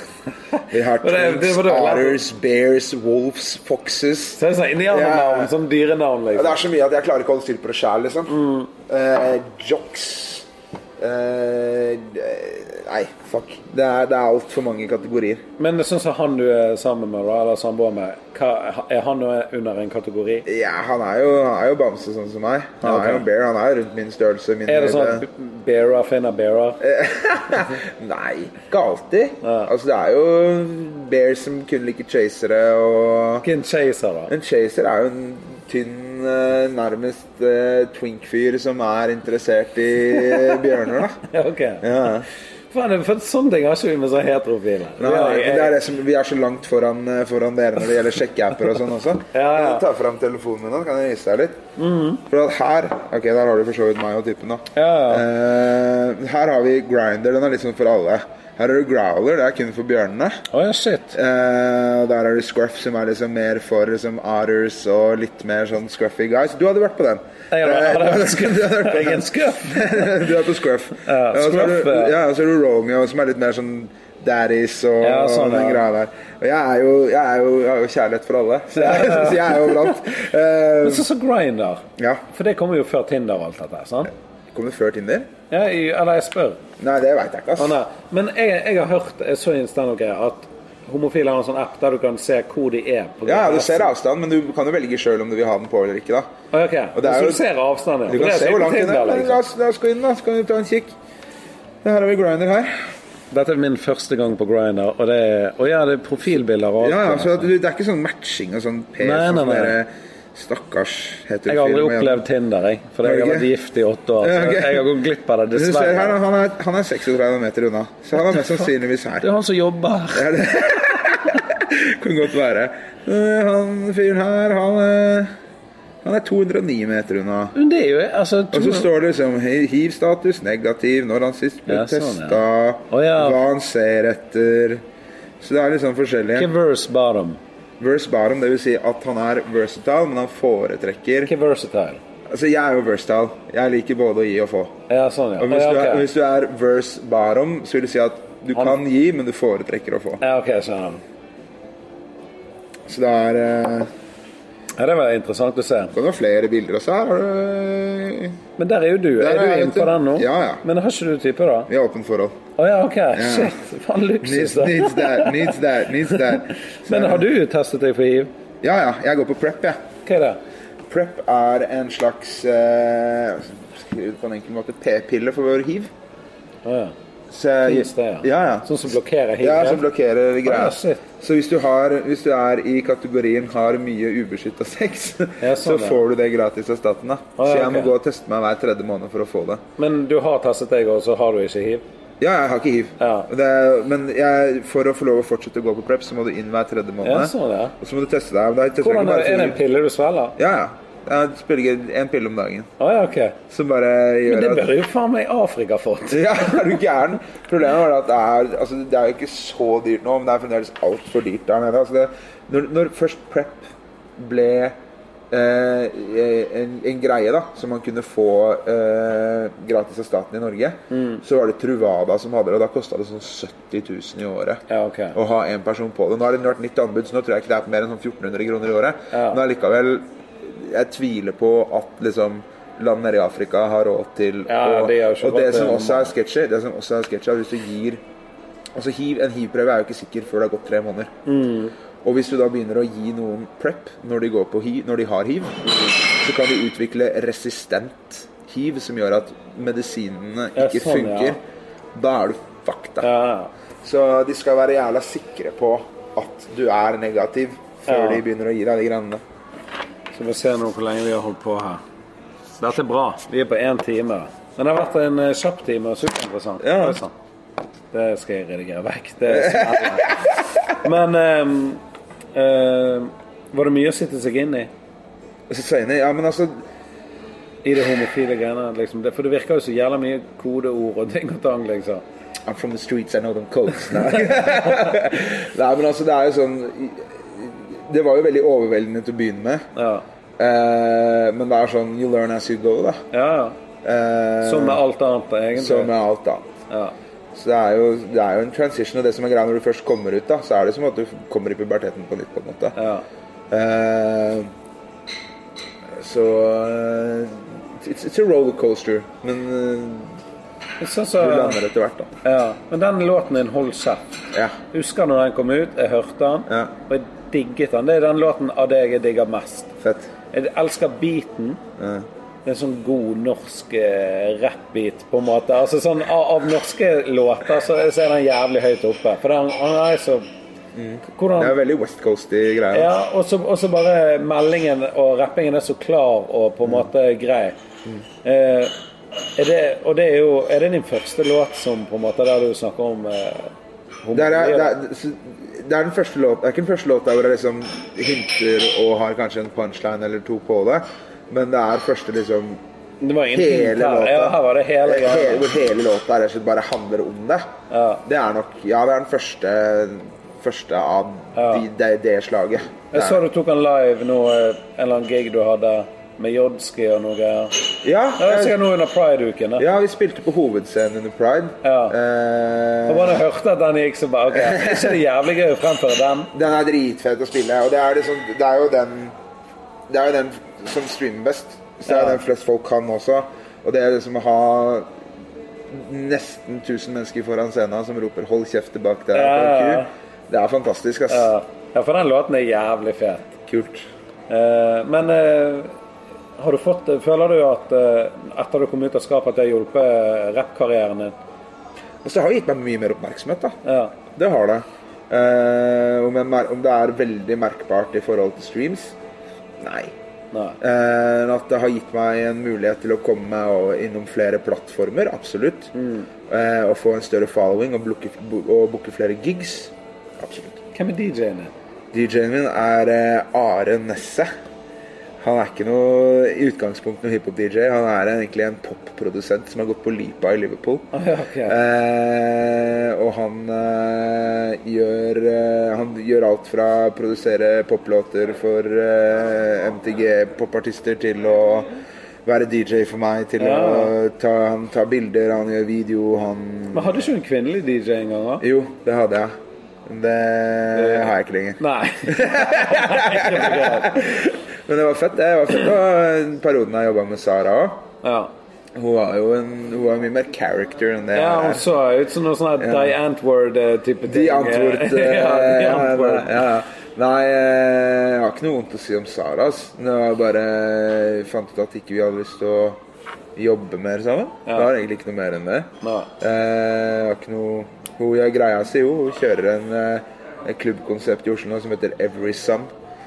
Speaker 2: Vi har
Speaker 1: Men det- det
Speaker 2: twins,
Speaker 1: var det-
Speaker 2: otters, bears, wolves, foxes.
Speaker 1: Så det er sånn indianernavn,
Speaker 2: Ja.
Speaker 1: sånn dyrenavn,
Speaker 2: Ja, det
Speaker 1: liksom.
Speaker 2: er så mye at jeg klarer ikke å holde styr på det sjæl, liksom. Eh, jocks eh, eh, Nei, fuck. Det er, det er altfor mange kategorier.
Speaker 1: Men sånn som han du er sammen med, da, eller samboer med, hva, er han under en kategori?
Speaker 2: Ja, han er jo, han er jo bamse, sånn som meg. Han
Speaker 1: Ja, ok.
Speaker 2: er jo en bear. Han er jo rundt min størrelse. Min
Speaker 1: Er det sånn
Speaker 2: høyde.
Speaker 1: at Bearer finner Bearer?
Speaker 2: Nei, ikke alltid. Altså, det er jo bears som kun liker chasere, og
Speaker 1: Ikke en chaser, da?
Speaker 2: En chaser er jo en tynn, eh, nærmest eh, twink-fyr som er interessert i bjørner, da.
Speaker 1: Ja, ok.
Speaker 2: Ja.
Speaker 1: Faen, det- for sånne ting har ikke vi med så heterofile.
Speaker 2: Nei,
Speaker 1: Ja,
Speaker 2: men
Speaker 1: jeg-
Speaker 2: det er det som, vi er så langt foran, eh, foran dere når det gjelder sjekkeapper og sånn også.
Speaker 1: Ja, ja.
Speaker 2: Ta fram telefonen min, da, så kan jeg vise deg litt. For at her Ok, der har du for så vidt meg og typen, da.
Speaker 1: Ja, ja.
Speaker 2: Eh, her har vi grinder. Den er litt sånn for alle. Her har du growler. Det er kun for bjørnene.
Speaker 1: Å, ja, shit.
Speaker 2: Eh, og der har du scruff, som er liksom mer for liksom, otters og litt mer sånn scruffy guys. Du hadde vært på den.
Speaker 1: Jeg hadde-
Speaker 2: Eh,
Speaker 1: hadde vært
Speaker 2: du hadde vært på
Speaker 1: Jeg er
Speaker 2: den.
Speaker 1: en skuff.
Speaker 2: du er på Scruff.
Speaker 1: Ja,
Speaker 2: og så er
Speaker 1: Scruff,
Speaker 2: du,
Speaker 1: ja.
Speaker 2: ja, og så er du Romeo, som er litt mer sånn daddies og,
Speaker 1: Ja, sånn,
Speaker 2: den
Speaker 1: ja.
Speaker 2: greia der. Og jeg er jo, jeg er jo, jeg har jo kjærlighet for alle, så jeg, så jeg er jo overalt.
Speaker 1: Men
Speaker 2: Eh,
Speaker 1: sånn som Grindr.
Speaker 2: ja.
Speaker 1: For det kommer jo før Tinder og alt dette, sant?
Speaker 2: Kommer før Tinder?
Speaker 1: Ja, jeg- eller jeg spør.
Speaker 2: Nei, det veit jeg ikke,
Speaker 1: Å,
Speaker 2: ass.
Speaker 1: nei. Men jeg, jeg har hørt jeg så i en standup-greie at homofile har en sånn app der du kan se hvor de er. På
Speaker 2: Ja, du
Speaker 1: GPS.
Speaker 2: ser avstand, men du kan jo velge sjøl om du vil ha den på eller ikke, da.
Speaker 1: Å, ok.
Speaker 2: Og det er
Speaker 1: så
Speaker 2: jo-
Speaker 1: du ser avstanden. ja. For
Speaker 2: Du kan
Speaker 1: det er
Speaker 2: se
Speaker 1: så
Speaker 2: hvor langt
Speaker 1: ikke
Speaker 2: den er.
Speaker 1: Tinder,
Speaker 2: Men La
Speaker 1: liksom.
Speaker 2: oss, la oss gå inn, da, så kan vi ta en kikk. Her har vi Grinder her.
Speaker 1: Dette er min første gang på Grindr, og det er, og ja, det er profilbilder og alt.
Speaker 2: Ja, ja,
Speaker 1: det.
Speaker 2: så at du, Det er ikke sånn matching og sånn pes
Speaker 1: Nei, nei,
Speaker 2: og sånn
Speaker 1: nei.
Speaker 2: derre Stakkars heterofile
Speaker 1: Jeg har aldri
Speaker 2: med jenter.
Speaker 1: opplevd Tinder, jeg. For jeg
Speaker 2: Har
Speaker 1: har
Speaker 2: du
Speaker 1: vært
Speaker 2: ikke?
Speaker 1: gift i åtte år.
Speaker 2: Ja,
Speaker 1: Så
Speaker 2: ok.
Speaker 1: jeg har gått glipp av det,
Speaker 2: Du ser her,
Speaker 1: dessverre.
Speaker 2: han er, han er 36 meter unna, så han er mest sannsynligvis her.
Speaker 1: Det er han som jobber her.
Speaker 2: Kan godt være. Eh, Han fyren her, han, eh, han er 209 meter unna.
Speaker 1: Men det er jo altså,
Speaker 2: Og så
Speaker 1: to-
Speaker 2: står det liksom hi- hiv-status negativ når han sist ble
Speaker 1: Ja, sånn, ja.
Speaker 2: testa,
Speaker 1: Å, ja.
Speaker 2: hva han ser etter Så det er liksom
Speaker 1: Ikke
Speaker 2: forskjellige.
Speaker 1: verse bottom.
Speaker 2: Verse bottom, det vil Si at han er versatile, men han foretrekker
Speaker 1: Ikke versatile.
Speaker 2: Altså, jeg er jo versatile. Jeg liker både å gi og få.
Speaker 1: Ja, sånn, ja.
Speaker 2: Og hvis,
Speaker 1: ja,
Speaker 2: du er,
Speaker 1: ok.
Speaker 2: hvis du er verse bottom, så vil det si at du
Speaker 1: Han-
Speaker 2: kan gi, men du foretrekker å få.
Speaker 1: sånn, ja, ok, jeg skjønner.
Speaker 2: Så det er eh,
Speaker 1: Ja, det var interessant å se.
Speaker 2: kan jo ha flere bilder også her. Har eh, du
Speaker 1: Men der er jo du.
Speaker 2: Der
Speaker 1: Er
Speaker 2: er jeg,
Speaker 1: du
Speaker 2: vet du.
Speaker 1: innenfor den nå?
Speaker 2: Ja, ja.
Speaker 1: Men har ikke du type, da?
Speaker 2: Vi har åpent forhold.
Speaker 1: Å ja, OK. Shit. Faen, luksus,
Speaker 2: Needs,
Speaker 1: da.
Speaker 2: needs that, needs that, needs that. Så-
Speaker 1: Men har du testet deg for hiv?
Speaker 2: Ja, ja. Jeg går på prep, jeg.
Speaker 1: Hva er det?
Speaker 2: Prep er en slags eh, skriv på en enkel måte p-pille for hiv.
Speaker 1: Å ja.
Speaker 2: Så jeg-
Speaker 1: Yes, det, ja.
Speaker 2: ja, ja.
Speaker 1: Sånn som blokkerer hiv?
Speaker 2: Ja, som blokkerer
Speaker 1: Ah,
Speaker 2: greier.
Speaker 1: shit.
Speaker 2: så hvis du, har, hvis du er i kategorien 'har mye ubeskytta sex',
Speaker 1: Ja, sånn,
Speaker 2: så
Speaker 1: ja.
Speaker 2: får du det gratis av staten. da.
Speaker 1: Ah, ja,
Speaker 2: så jeg må
Speaker 1: ok.
Speaker 2: gå og teste meg hver tredje måned for å få det.
Speaker 1: Men du har testet deg, og så har du ikke hiv?
Speaker 2: Ja, jeg har ikke hiv.
Speaker 1: Ja.
Speaker 2: Det er, men jeg, for å få lov å fortsette å gå på prep, så må du inn hver tredje måned.
Speaker 1: Ja, sånn, ja.
Speaker 2: Og så må du teste deg. Men da tester jeg
Speaker 1: Hvordan
Speaker 2: ikke
Speaker 1: er,
Speaker 2: bare
Speaker 1: er det
Speaker 2: for
Speaker 1: en
Speaker 2: hiv.
Speaker 1: pille du svelger?
Speaker 2: Ja, ja. Jeg spiller én pille om dagen.
Speaker 1: Å ja, OK.
Speaker 2: Som bare gjør
Speaker 1: Men det
Speaker 2: at
Speaker 1: bør jo faen meg Afrika fått.
Speaker 2: Ja, er du gæren? Problemet var at det er, altså, det er jo ikke så dyrt nå, men det er fremdeles altfor dyrt der nede. Altså, det, når, når først prep ble eh, en, en greie da, som man kunne få eh, gratis av staten i Norge, så var det Truvada som hadde det, og da kosta det sånn 70 000 i året.
Speaker 1: Ja, ok.
Speaker 2: Å ha én person på det. Nå har det vært nytt anbud, så nå tror jeg ikke det er på mer enn sånn 1400 kroner i året.
Speaker 1: Ja.
Speaker 2: Men allikevel, jeg tviler på at liksom land nede i Afrika har råd til
Speaker 1: Ja,
Speaker 2: og,
Speaker 1: det gjør så
Speaker 2: og det
Speaker 1: godt,
Speaker 2: som
Speaker 1: det.
Speaker 2: også er sketsjer, det som også er sketsjer, er hvis du gir Altså hiv, En hiv-prøve er jo ikke sikker før det har gått tre måneder.
Speaker 1: Mm.
Speaker 2: Og hvis du da begynner å gi noen prep når de, går på hiv, når de har hiv, så kan de utvikle resistent hiv, som gjør at medisinene
Speaker 1: Ja,
Speaker 2: ikke
Speaker 1: sånn, ja.
Speaker 2: funker. Da er du fucked.
Speaker 1: Ja,
Speaker 2: da.
Speaker 1: ja.
Speaker 2: Så de skal være jævla sikre på at du er negativ før
Speaker 1: Ja.
Speaker 2: de begynner å gi deg de greiene.
Speaker 1: Så vi ser nå hvor lenge vi har holdt på her. Dette er bra. Vi er på én time. Men det har vært en eh, kjapp time og superinteressant.
Speaker 2: Ja.
Speaker 1: Oi, sann. Det skal jeg redigere vekk. Det er smellende. Men ehm, ehm, var det mye å sitte seg inn i?
Speaker 2: Og så sier de, ja, men altså
Speaker 1: I det homofile greiene? Liksom. Det, for det virker jo så jævla mye kodeord og ting og tang, liksom.
Speaker 2: I'm from the streets, I know them codes. Nei, Nei men altså, det er jo sånn Det var jo veldig overveldende til å begynne med.
Speaker 1: Ja.
Speaker 2: Eh, men det er sånn You learn as you go, da.
Speaker 1: ja. ja.
Speaker 2: Eh,
Speaker 1: Som med alt annet, egentlig.
Speaker 2: som med alt annet.
Speaker 1: Ja.
Speaker 2: Så det er, jo, det er jo en transition, og det som er greia når du først kommer ut, da, så er det som at du kommer i puberteten på nytt, på en måte.
Speaker 1: ja.
Speaker 2: Eh, så eh, it's, it's a rollercoaster, men eh,
Speaker 1: Sånn
Speaker 2: du
Speaker 1: som
Speaker 2: lander etter hvert, da.
Speaker 1: ja. Men den låten din, 'Hold kjeft',
Speaker 2: Ja.
Speaker 1: Husker når den kom ut, jeg hørte den,
Speaker 2: Ja.
Speaker 1: og jeg digget den. Det er den låten av det jeg digger mest.
Speaker 2: Fett.
Speaker 1: Jeg elsker beaten.
Speaker 2: Ja.
Speaker 1: Det er en sånn god norsk eh, rap-beat, på en måte. Altså sånn Av, av norske låter så, så er den jævlig høyt oppe. For den, han er så
Speaker 2: Mm. Det
Speaker 1: Hvordan
Speaker 2: er veldig West Coast-y greier.
Speaker 1: ja, og så- og så bare meldingen og rappingen er så klar og
Speaker 2: Mm.
Speaker 1: på en måte grei. Eh, er det, og det er jo Er det din første låt som på en måte der du snakker om eh,
Speaker 2: Det er, det,
Speaker 1: homofili?
Speaker 2: er, så- det er den første låt, det er ikke den første låta hvor jeg liksom hinter og har kanskje en punchline eller to på det, men det er første liksom
Speaker 1: Det var ingen
Speaker 2: hele
Speaker 1: hint her.
Speaker 2: låta.
Speaker 1: Ja, her var det hele
Speaker 2: Hele-
Speaker 1: greia.
Speaker 2: Hvor hele låta rett og slett bare handler om det.
Speaker 1: Ja.
Speaker 2: Det er nok Ja, det er den første, første av de, det, det slaget.
Speaker 1: Jeg så du tok den live nå, eh, en eller annen gig du hadde med Jodski og noe greier.
Speaker 2: Ja,
Speaker 1: Det var
Speaker 2: jeg,
Speaker 1: sikkert nå under Pride-uken. da.
Speaker 2: ja, vi spilte på hovedscenen under Pride.
Speaker 1: Ja.
Speaker 2: Eh,
Speaker 1: Jeg bare hørte at den gikk så bare OK. Er ikke det jævlig gøy å fremføre den?
Speaker 2: Den er dritfet å spille, og det er, liksom, det er jo den Det er jo den som streamer best. Så det er
Speaker 1: Ja.
Speaker 2: den flest folk kan også. Og det er liksom å ha nesten 1000 mennesker foran scenen som roper 'hold kjeft' bak der.
Speaker 1: Ja,
Speaker 2: på en
Speaker 1: ja, ja.
Speaker 2: ku. Det er fantastisk, ass.
Speaker 1: Ja. ja, for den låten er jævlig fet.
Speaker 2: Kult.
Speaker 1: Eh, Men eh, har du fått Føler du at eh, etter du kom ut av skapet, at det har hjulpet rappkarrieren din?
Speaker 2: Og så har det gitt meg mye mer oppmerksomhet, da.
Speaker 1: Ja.
Speaker 2: Det har det. Eh, om, jeg mer om det er veldig merkbart i forhold til streams? Nei.
Speaker 1: Nei.
Speaker 2: Eh, at det har gitt meg en mulighet til å komme meg og- innom flere plattformer, absolutt. Eh, og få en større following og booke, og booke flere gigs. Absolutt.
Speaker 1: Hvem er DJ-en din?
Speaker 2: DJ-en min er eh, Are Nesse. Han er ikke noe i utgangspunktet noen hiphop-DJ. Han er en, egentlig en popprodusent som har gått på Lipa i Liverpool.
Speaker 1: Ah, ja, ok.
Speaker 2: Eh, og han eh, gjør eh, Han gjør alt fra å produsere poplåter for eh, MTG-popartister til å være DJ for meg, til
Speaker 1: Ja.
Speaker 2: å ta, han tar bilder, han gjør video, han
Speaker 1: Men hadde ikke du en kvinnelig DJ en gang? da?
Speaker 2: Jo, det hadde jeg. Det har jeg ikke lenger.
Speaker 1: Nei.
Speaker 2: Men det var fett. det. Det var fett da perioden jeg jobba med Sara òg.
Speaker 1: ja.
Speaker 2: Hun var jo en, hun var mye mer character enn det
Speaker 1: ja, hun så ut som noe sånn her Die Antword-type ting.
Speaker 2: De antwortet
Speaker 1: ja, de
Speaker 2: eh, ja,
Speaker 1: Antwoord.
Speaker 2: ja, ja. Nei, eh, jeg har ikke noe vondt å si om Sara. ass. Det var bare jeg fant ut at ikke vi hadde lyst til å jobbe mer sammen.
Speaker 1: Ja.
Speaker 2: Det var egentlig ikke noe mer enn det.
Speaker 1: Nei.
Speaker 2: Eh, Jeg har ikke noe Hun gjør greia si, jo. Hun kjører en, eh, et klubbkonsept i Oslo nå som heter Every Sum.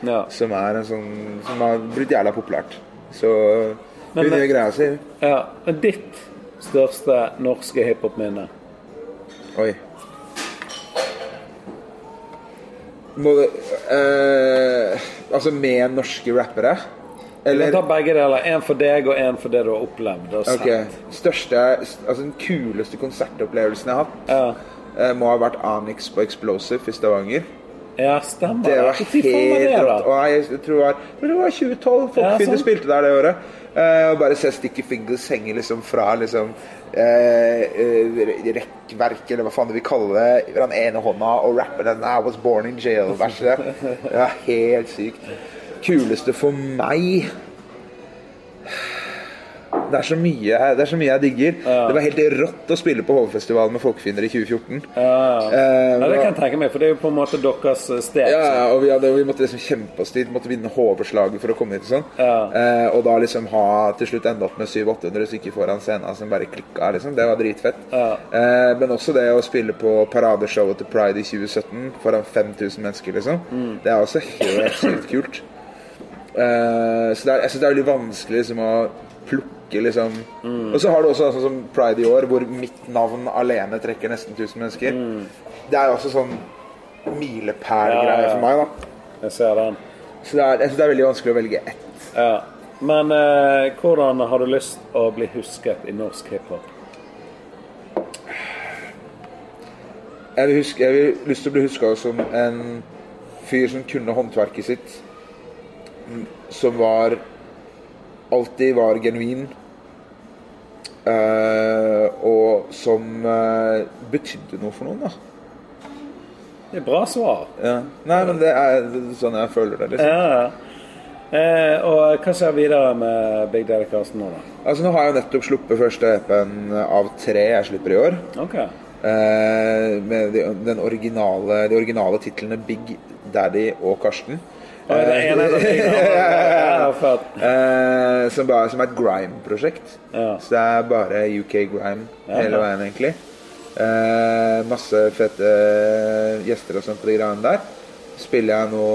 Speaker 1: Ja.
Speaker 2: Som er en sånn Som har blitt jævla populært. Så hun
Speaker 1: Men-
Speaker 2: gjør greia si.
Speaker 1: ja. Men ditt største norske hiphop-minne?
Speaker 2: Oi. Både eh, Altså med norske rappere?
Speaker 1: Vi
Speaker 2: Eller
Speaker 1: tar begge deler. En for deg, og en for det du har opplevd. Og
Speaker 2: Ok.
Speaker 1: sett.
Speaker 2: Største Altså den kuleste konsertopplevelsen jeg har hatt,
Speaker 1: Ja.
Speaker 2: eh, må ha vært Onyx på Explosive i Stavanger.
Speaker 1: ja, stemmer.
Speaker 2: Det var
Speaker 1: Hvor tid får man
Speaker 2: helt
Speaker 1: det, da?
Speaker 2: rått. Og jeg, jeg tror det var, jeg tror det var 2012 folk
Speaker 1: Ja, sånn.
Speaker 2: begynte
Speaker 1: sant.
Speaker 2: å spille der det året. Eh, og bare se Sticky Fingers henge liksom fra liksom eh, eh, rekkverk, eller hva faen det vil kalle det, fra den ene hånda og rappe den I was born in jail-verset. Det var helt sykt. Kuleste for meg det er, så mye, det er så mye jeg digger. Det var helt rått å spille på Hovefestivalen med Folkefiender i 2014. Eh,
Speaker 1: Ja, det kan jeg tenke meg, for det er jo på en måte deres eh, sted.
Speaker 2: ja, ja, og vi, hadde, vi måtte liksom kjempe oss dit. Måtte vinne hovedslaget for å komme hit. og Sånn.
Speaker 1: Ja.
Speaker 2: Eh, og da liksom ha til slutt enda opp med 700-800 stykker foran scenen altså, som bare klikka. Liksom. Det var dritfett.
Speaker 1: Ja.
Speaker 2: Eh, men også det å spille på paradeshowet til Pride i 2017 foran 5000 mennesker, liksom.
Speaker 1: Mm.
Speaker 2: Det er også helt sykt kult. Eh, så det er, jeg syns det er veldig vanskelig liksom, å plukke liksom
Speaker 1: Mm.
Speaker 2: Og så har du også sånn som Pride i år, hvor mitt navn alene trekker nesten 1000 mennesker. Det er også sånn
Speaker 1: Mm. Ja,
Speaker 2: milepælgreie
Speaker 1: ja.
Speaker 2: for meg, da.
Speaker 1: Jeg ser den.
Speaker 2: Så det er, jeg syns det er veldig vanskelig å velge ett.
Speaker 1: Ja. Men eh, hvordan har du lyst å bli husket i norsk hiphop?
Speaker 2: Jeg vil, huske, jeg vil lyst til å bli huska som en fyr som kunne håndverket sitt. Mm, Som var Alltid var genuin. eh, og som eh, betydde noe for noen, da.
Speaker 1: Det er bra svar.
Speaker 2: Ja. Nei, men det er sånn jeg føler det. liksom.
Speaker 1: Ja, ja. Eh, og hva skjer videre med Big Daddy Karsten nå, da?
Speaker 2: Altså, Nå har jeg nettopp sluppet første EP-en av tre jeg slipper i år.
Speaker 1: Ok.
Speaker 2: Eh, med de, den originale, de originale titlene Big Daddy og Karsten.
Speaker 1: Og er det ene eller det andre? Ja, fett.
Speaker 2: Eh, som, bare, som er et grime-prosjekt.
Speaker 1: Ja.
Speaker 2: Så det er bare UK grime hele veien, egentlig. Eh, masse fete eh, gjester og sånt på de greiene der. Spiller jeg nå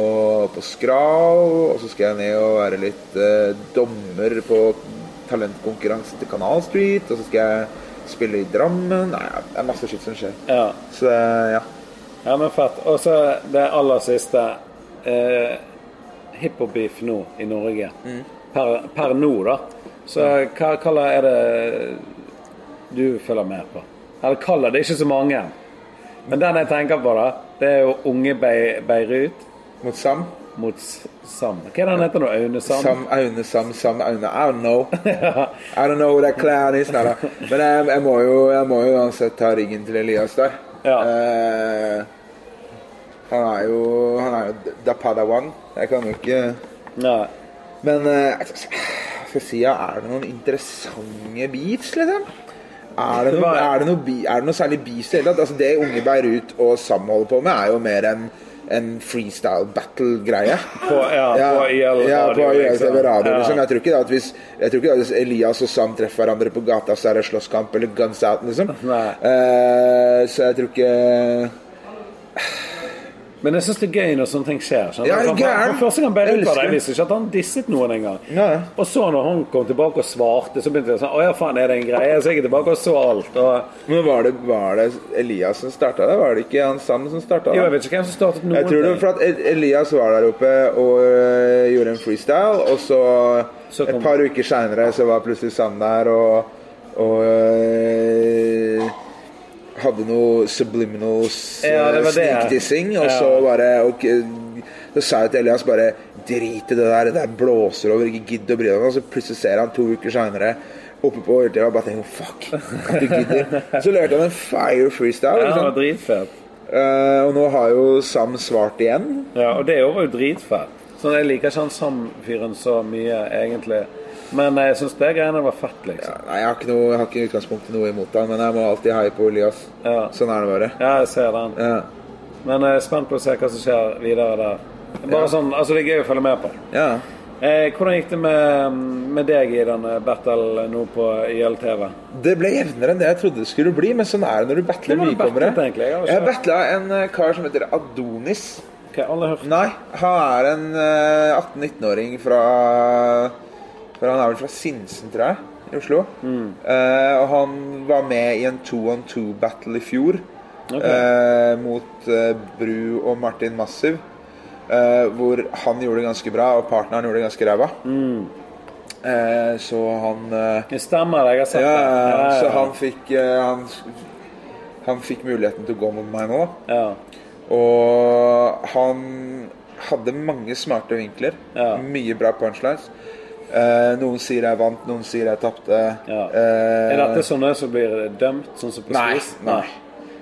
Speaker 2: på Skral, og så skal jeg ned og være litt eh, dommer på talentkonkurransen til Kanal Street, og så skal jeg spille i Drammen. Nei, det er masse skitt som skjer.
Speaker 1: Ja.
Speaker 2: Så eh, ja.
Speaker 1: ja, men fett. Og så det aller siste. Eh, Hiphop-beef nå i Norge. Per, per nå, da. Så hva kaller er det du følger med på? Eller kaller det er ikke så mange. Men den jeg tenker på, da, det er jo Unge Bei- Beirut
Speaker 2: Mot Sam.
Speaker 1: mot S- Sam. Hva er den heter nå? Aune Sam?
Speaker 2: Sam Aune, Sam, Sam Aune. I don't know. I don't know who that clown is. Neida. Men jeg, jeg, må jo, jeg må jo uansett ta ryggen til Elias der.
Speaker 1: Ja.
Speaker 2: Eh, han er jo Han er jo da padawan. Jeg kan jo ikke
Speaker 1: Nei.
Speaker 2: Men eh, jeg skal si, ja, er det noen interessante beats, liksom? Er det noe, er det noe, bi- er det noe særlig beats i det hele tatt? Altså, det Unge Beirut og Sam holder på med, er jo mer en, en freestyle battle-greie
Speaker 1: På, ja, på IL
Speaker 2: ja, på
Speaker 1: radio,
Speaker 2: IL
Speaker 1: liksom.
Speaker 2: TV radio. Liksom.
Speaker 1: Ja.
Speaker 2: Jeg tror ikke da at hvis, jeg tror ikke da at hvis Elias og Sam treffer hverandre på gata, så er det slåsskamp eller guns out, liksom.
Speaker 1: Nei.
Speaker 2: Eh, så jeg tror ikke
Speaker 1: Men jeg syns det er gøy når sånne ting skjer. skjønner
Speaker 2: Ja,
Speaker 1: du?
Speaker 2: er du gæren?
Speaker 1: For første gang ble jeg ut av
Speaker 2: Jeg
Speaker 1: det.
Speaker 2: elsker
Speaker 1: Jeg
Speaker 2: det.
Speaker 1: visste ikke at han disset noen engang.
Speaker 2: Nei.
Speaker 1: Og så når han kom tilbake og svarte, så begynte jeg sånn Å ja, faen, er det en greie? Så jeg er tilbake og så alt. Og
Speaker 2: Men var det, var det Elias som starta det? Var det ikke han Sam som starta det?
Speaker 1: jo, jeg vet ikke hvem som startet noen
Speaker 2: Jeg tror det
Speaker 1: ting.
Speaker 2: var for at El- Elias var der oppe og øh, gjorde en freestyle, og så,
Speaker 1: Så kom-
Speaker 2: et par uker seinere så var plutselig Sam der og, og øh, hadde noe subliminals eh,
Speaker 1: Ja, det var det.
Speaker 2: snikdissing, og
Speaker 1: Ja.
Speaker 2: så bare og, Så sa jeg til Elias bare drit i det der, det der blåser over, ikke gidd å bry deg om det. Og så plutselig ser han to uker seinere oppe på Ørtøya og bare tenker fuck, at du gidder. Så lærte han en fire
Speaker 1: Ja,
Speaker 2: freestyle. ikke
Speaker 1: det
Speaker 2: sant?
Speaker 1: var dritfett.
Speaker 2: Eh, og nå har jo Sam svart igjen.
Speaker 1: Ja, og det var jo dritfett. Sånn, Jeg liker ikke han Sam-fyren så mye, egentlig. Men eh, jeg syns det greiene var fett,
Speaker 2: Ja,
Speaker 1: liksom.
Speaker 2: Nei, jeg har ikke, noe, jeg har ikke i utgangspunktet noe imot han, men jeg må alltid heie på Elias.
Speaker 1: Ja.
Speaker 2: Sånn er det bare.
Speaker 1: Ja, jeg ser den.
Speaker 2: Ja.
Speaker 1: Men jeg er spent på å se hva som skjer videre der. Bare sånn, altså Det er gøy å følge med på.
Speaker 2: ja.
Speaker 1: Eh, hvordan gikk det med, med deg i denne battle nå på ILTV?
Speaker 2: Det ble jevnere enn det jeg trodde det skulle bli, men sånn er det når du battler
Speaker 1: Hvem har du
Speaker 2: nykommere.
Speaker 1: battlet egentlig? Jeg har ikke-
Speaker 2: Jeg battla en eh, kar som heter Adonis.
Speaker 1: Ok, alle hørte
Speaker 2: Nei, han er en eh, 18-19-åring fra, fra Han er vel fra Sinsen, tror jeg, i Oslo.
Speaker 1: Mm.
Speaker 2: Eh, og han var med i en two-on-two-battle i fjor
Speaker 1: Ok.
Speaker 2: eh, mot eh, Bru og Martin Massiv. eh, hvor han gjorde det ganske bra, og partneren gjorde det ganske ræva.
Speaker 1: Mm.
Speaker 2: Eh, så han eh,
Speaker 1: Det stemmer, jeg har sett
Speaker 2: ja,
Speaker 1: det. Ja, ja,
Speaker 2: så
Speaker 1: ja.
Speaker 2: han fikk eh, han, han fikk muligheten til å gå mot meg nå.
Speaker 1: Ja.
Speaker 2: Og han hadde mange smarte vinkler.
Speaker 1: Ja.
Speaker 2: Mye bra punchlines. Eh, noen sier jeg vant, noen sier jeg tapte.
Speaker 1: Ja.
Speaker 2: Eh,
Speaker 1: Er dette sånne som blir dømt, sånn som på
Speaker 2: nei,
Speaker 1: Skvis?
Speaker 2: nei.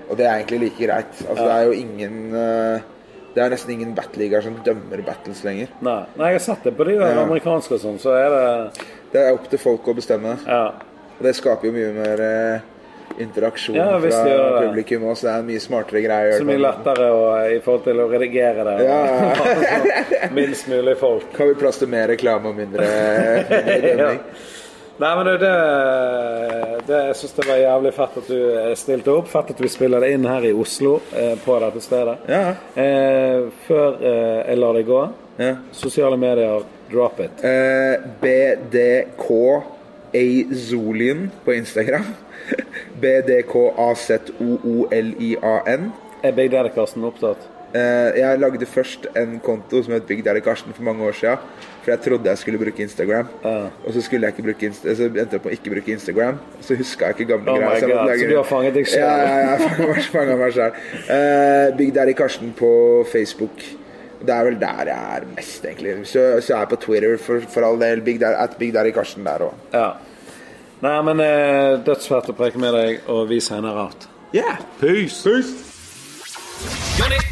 Speaker 2: Og det er egentlig like greit. Altså, Det er jo ingen eh, Det er nesten ingen battlegaer som dømmer battles lenger.
Speaker 1: Nei. Nei, jeg har sett det på de der amerikanske og sånn, så er det
Speaker 2: Det er opp til folk å bestemme.
Speaker 1: Ja.
Speaker 2: Og det skaper jo mye mer eh, interaksjon
Speaker 1: Ja, visst
Speaker 2: fra
Speaker 1: gjør det.
Speaker 2: publikum òg, så det er en mye smartere greie. å gjøre
Speaker 1: Så mye
Speaker 2: på den måten.
Speaker 1: lettere å, i forhold til å redigere det.
Speaker 2: Ja.
Speaker 1: og- Minst mulig folk.
Speaker 2: Kan vi plass til mer reklame og mindre, mindre
Speaker 1: ja.
Speaker 2: dømming?
Speaker 1: Nei, men det, det, det Jeg syns det var jævlig fett at du eh, stilte opp. Fett at vi spiller det inn her i Oslo, eh, på dette stedet.
Speaker 2: Ja.
Speaker 1: Eh, før eh, jeg lar det gå
Speaker 2: Ja.
Speaker 1: Sosiale medier, drop it.
Speaker 2: Eh, BDK Azolian på Instagram. BDKAZOOLIAN.
Speaker 1: Er Big Daddy Karsten opptatt?
Speaker 2: Eh, jeg lagde først en konto som het Big Daddy Karsten for mange år siden. For jeg trodde jeg skulle bruke Instagram. Og så skulle jeg ikke bruke Inst så endte jeg på å ikke bruke Instagram. Så huska jeg ikke gamle
Speaker 1: Oh my
Speaker 2: greier. jeg måtte
Speaker 1: God,
Speaker 2: lage-
Speaker 1: så du har fanget deg selv.
Speaker 2: Ja, ja, ja, jeg fanga meg- fanga meg selv. Eh, Big Daddy Karsten på Facebook. Det er vel der jeg er mest, egentlig. Så, så er jeg på Twitter for, for all del. Big Daddy, at Big Daddy Karsten der òg.
Speaker 1: Ja. Nei, men eh, dødsfett å preke med deg, og vi sender out.
Speaker 2: Yeah. Peace. Peace.
Speaker 3: Unit.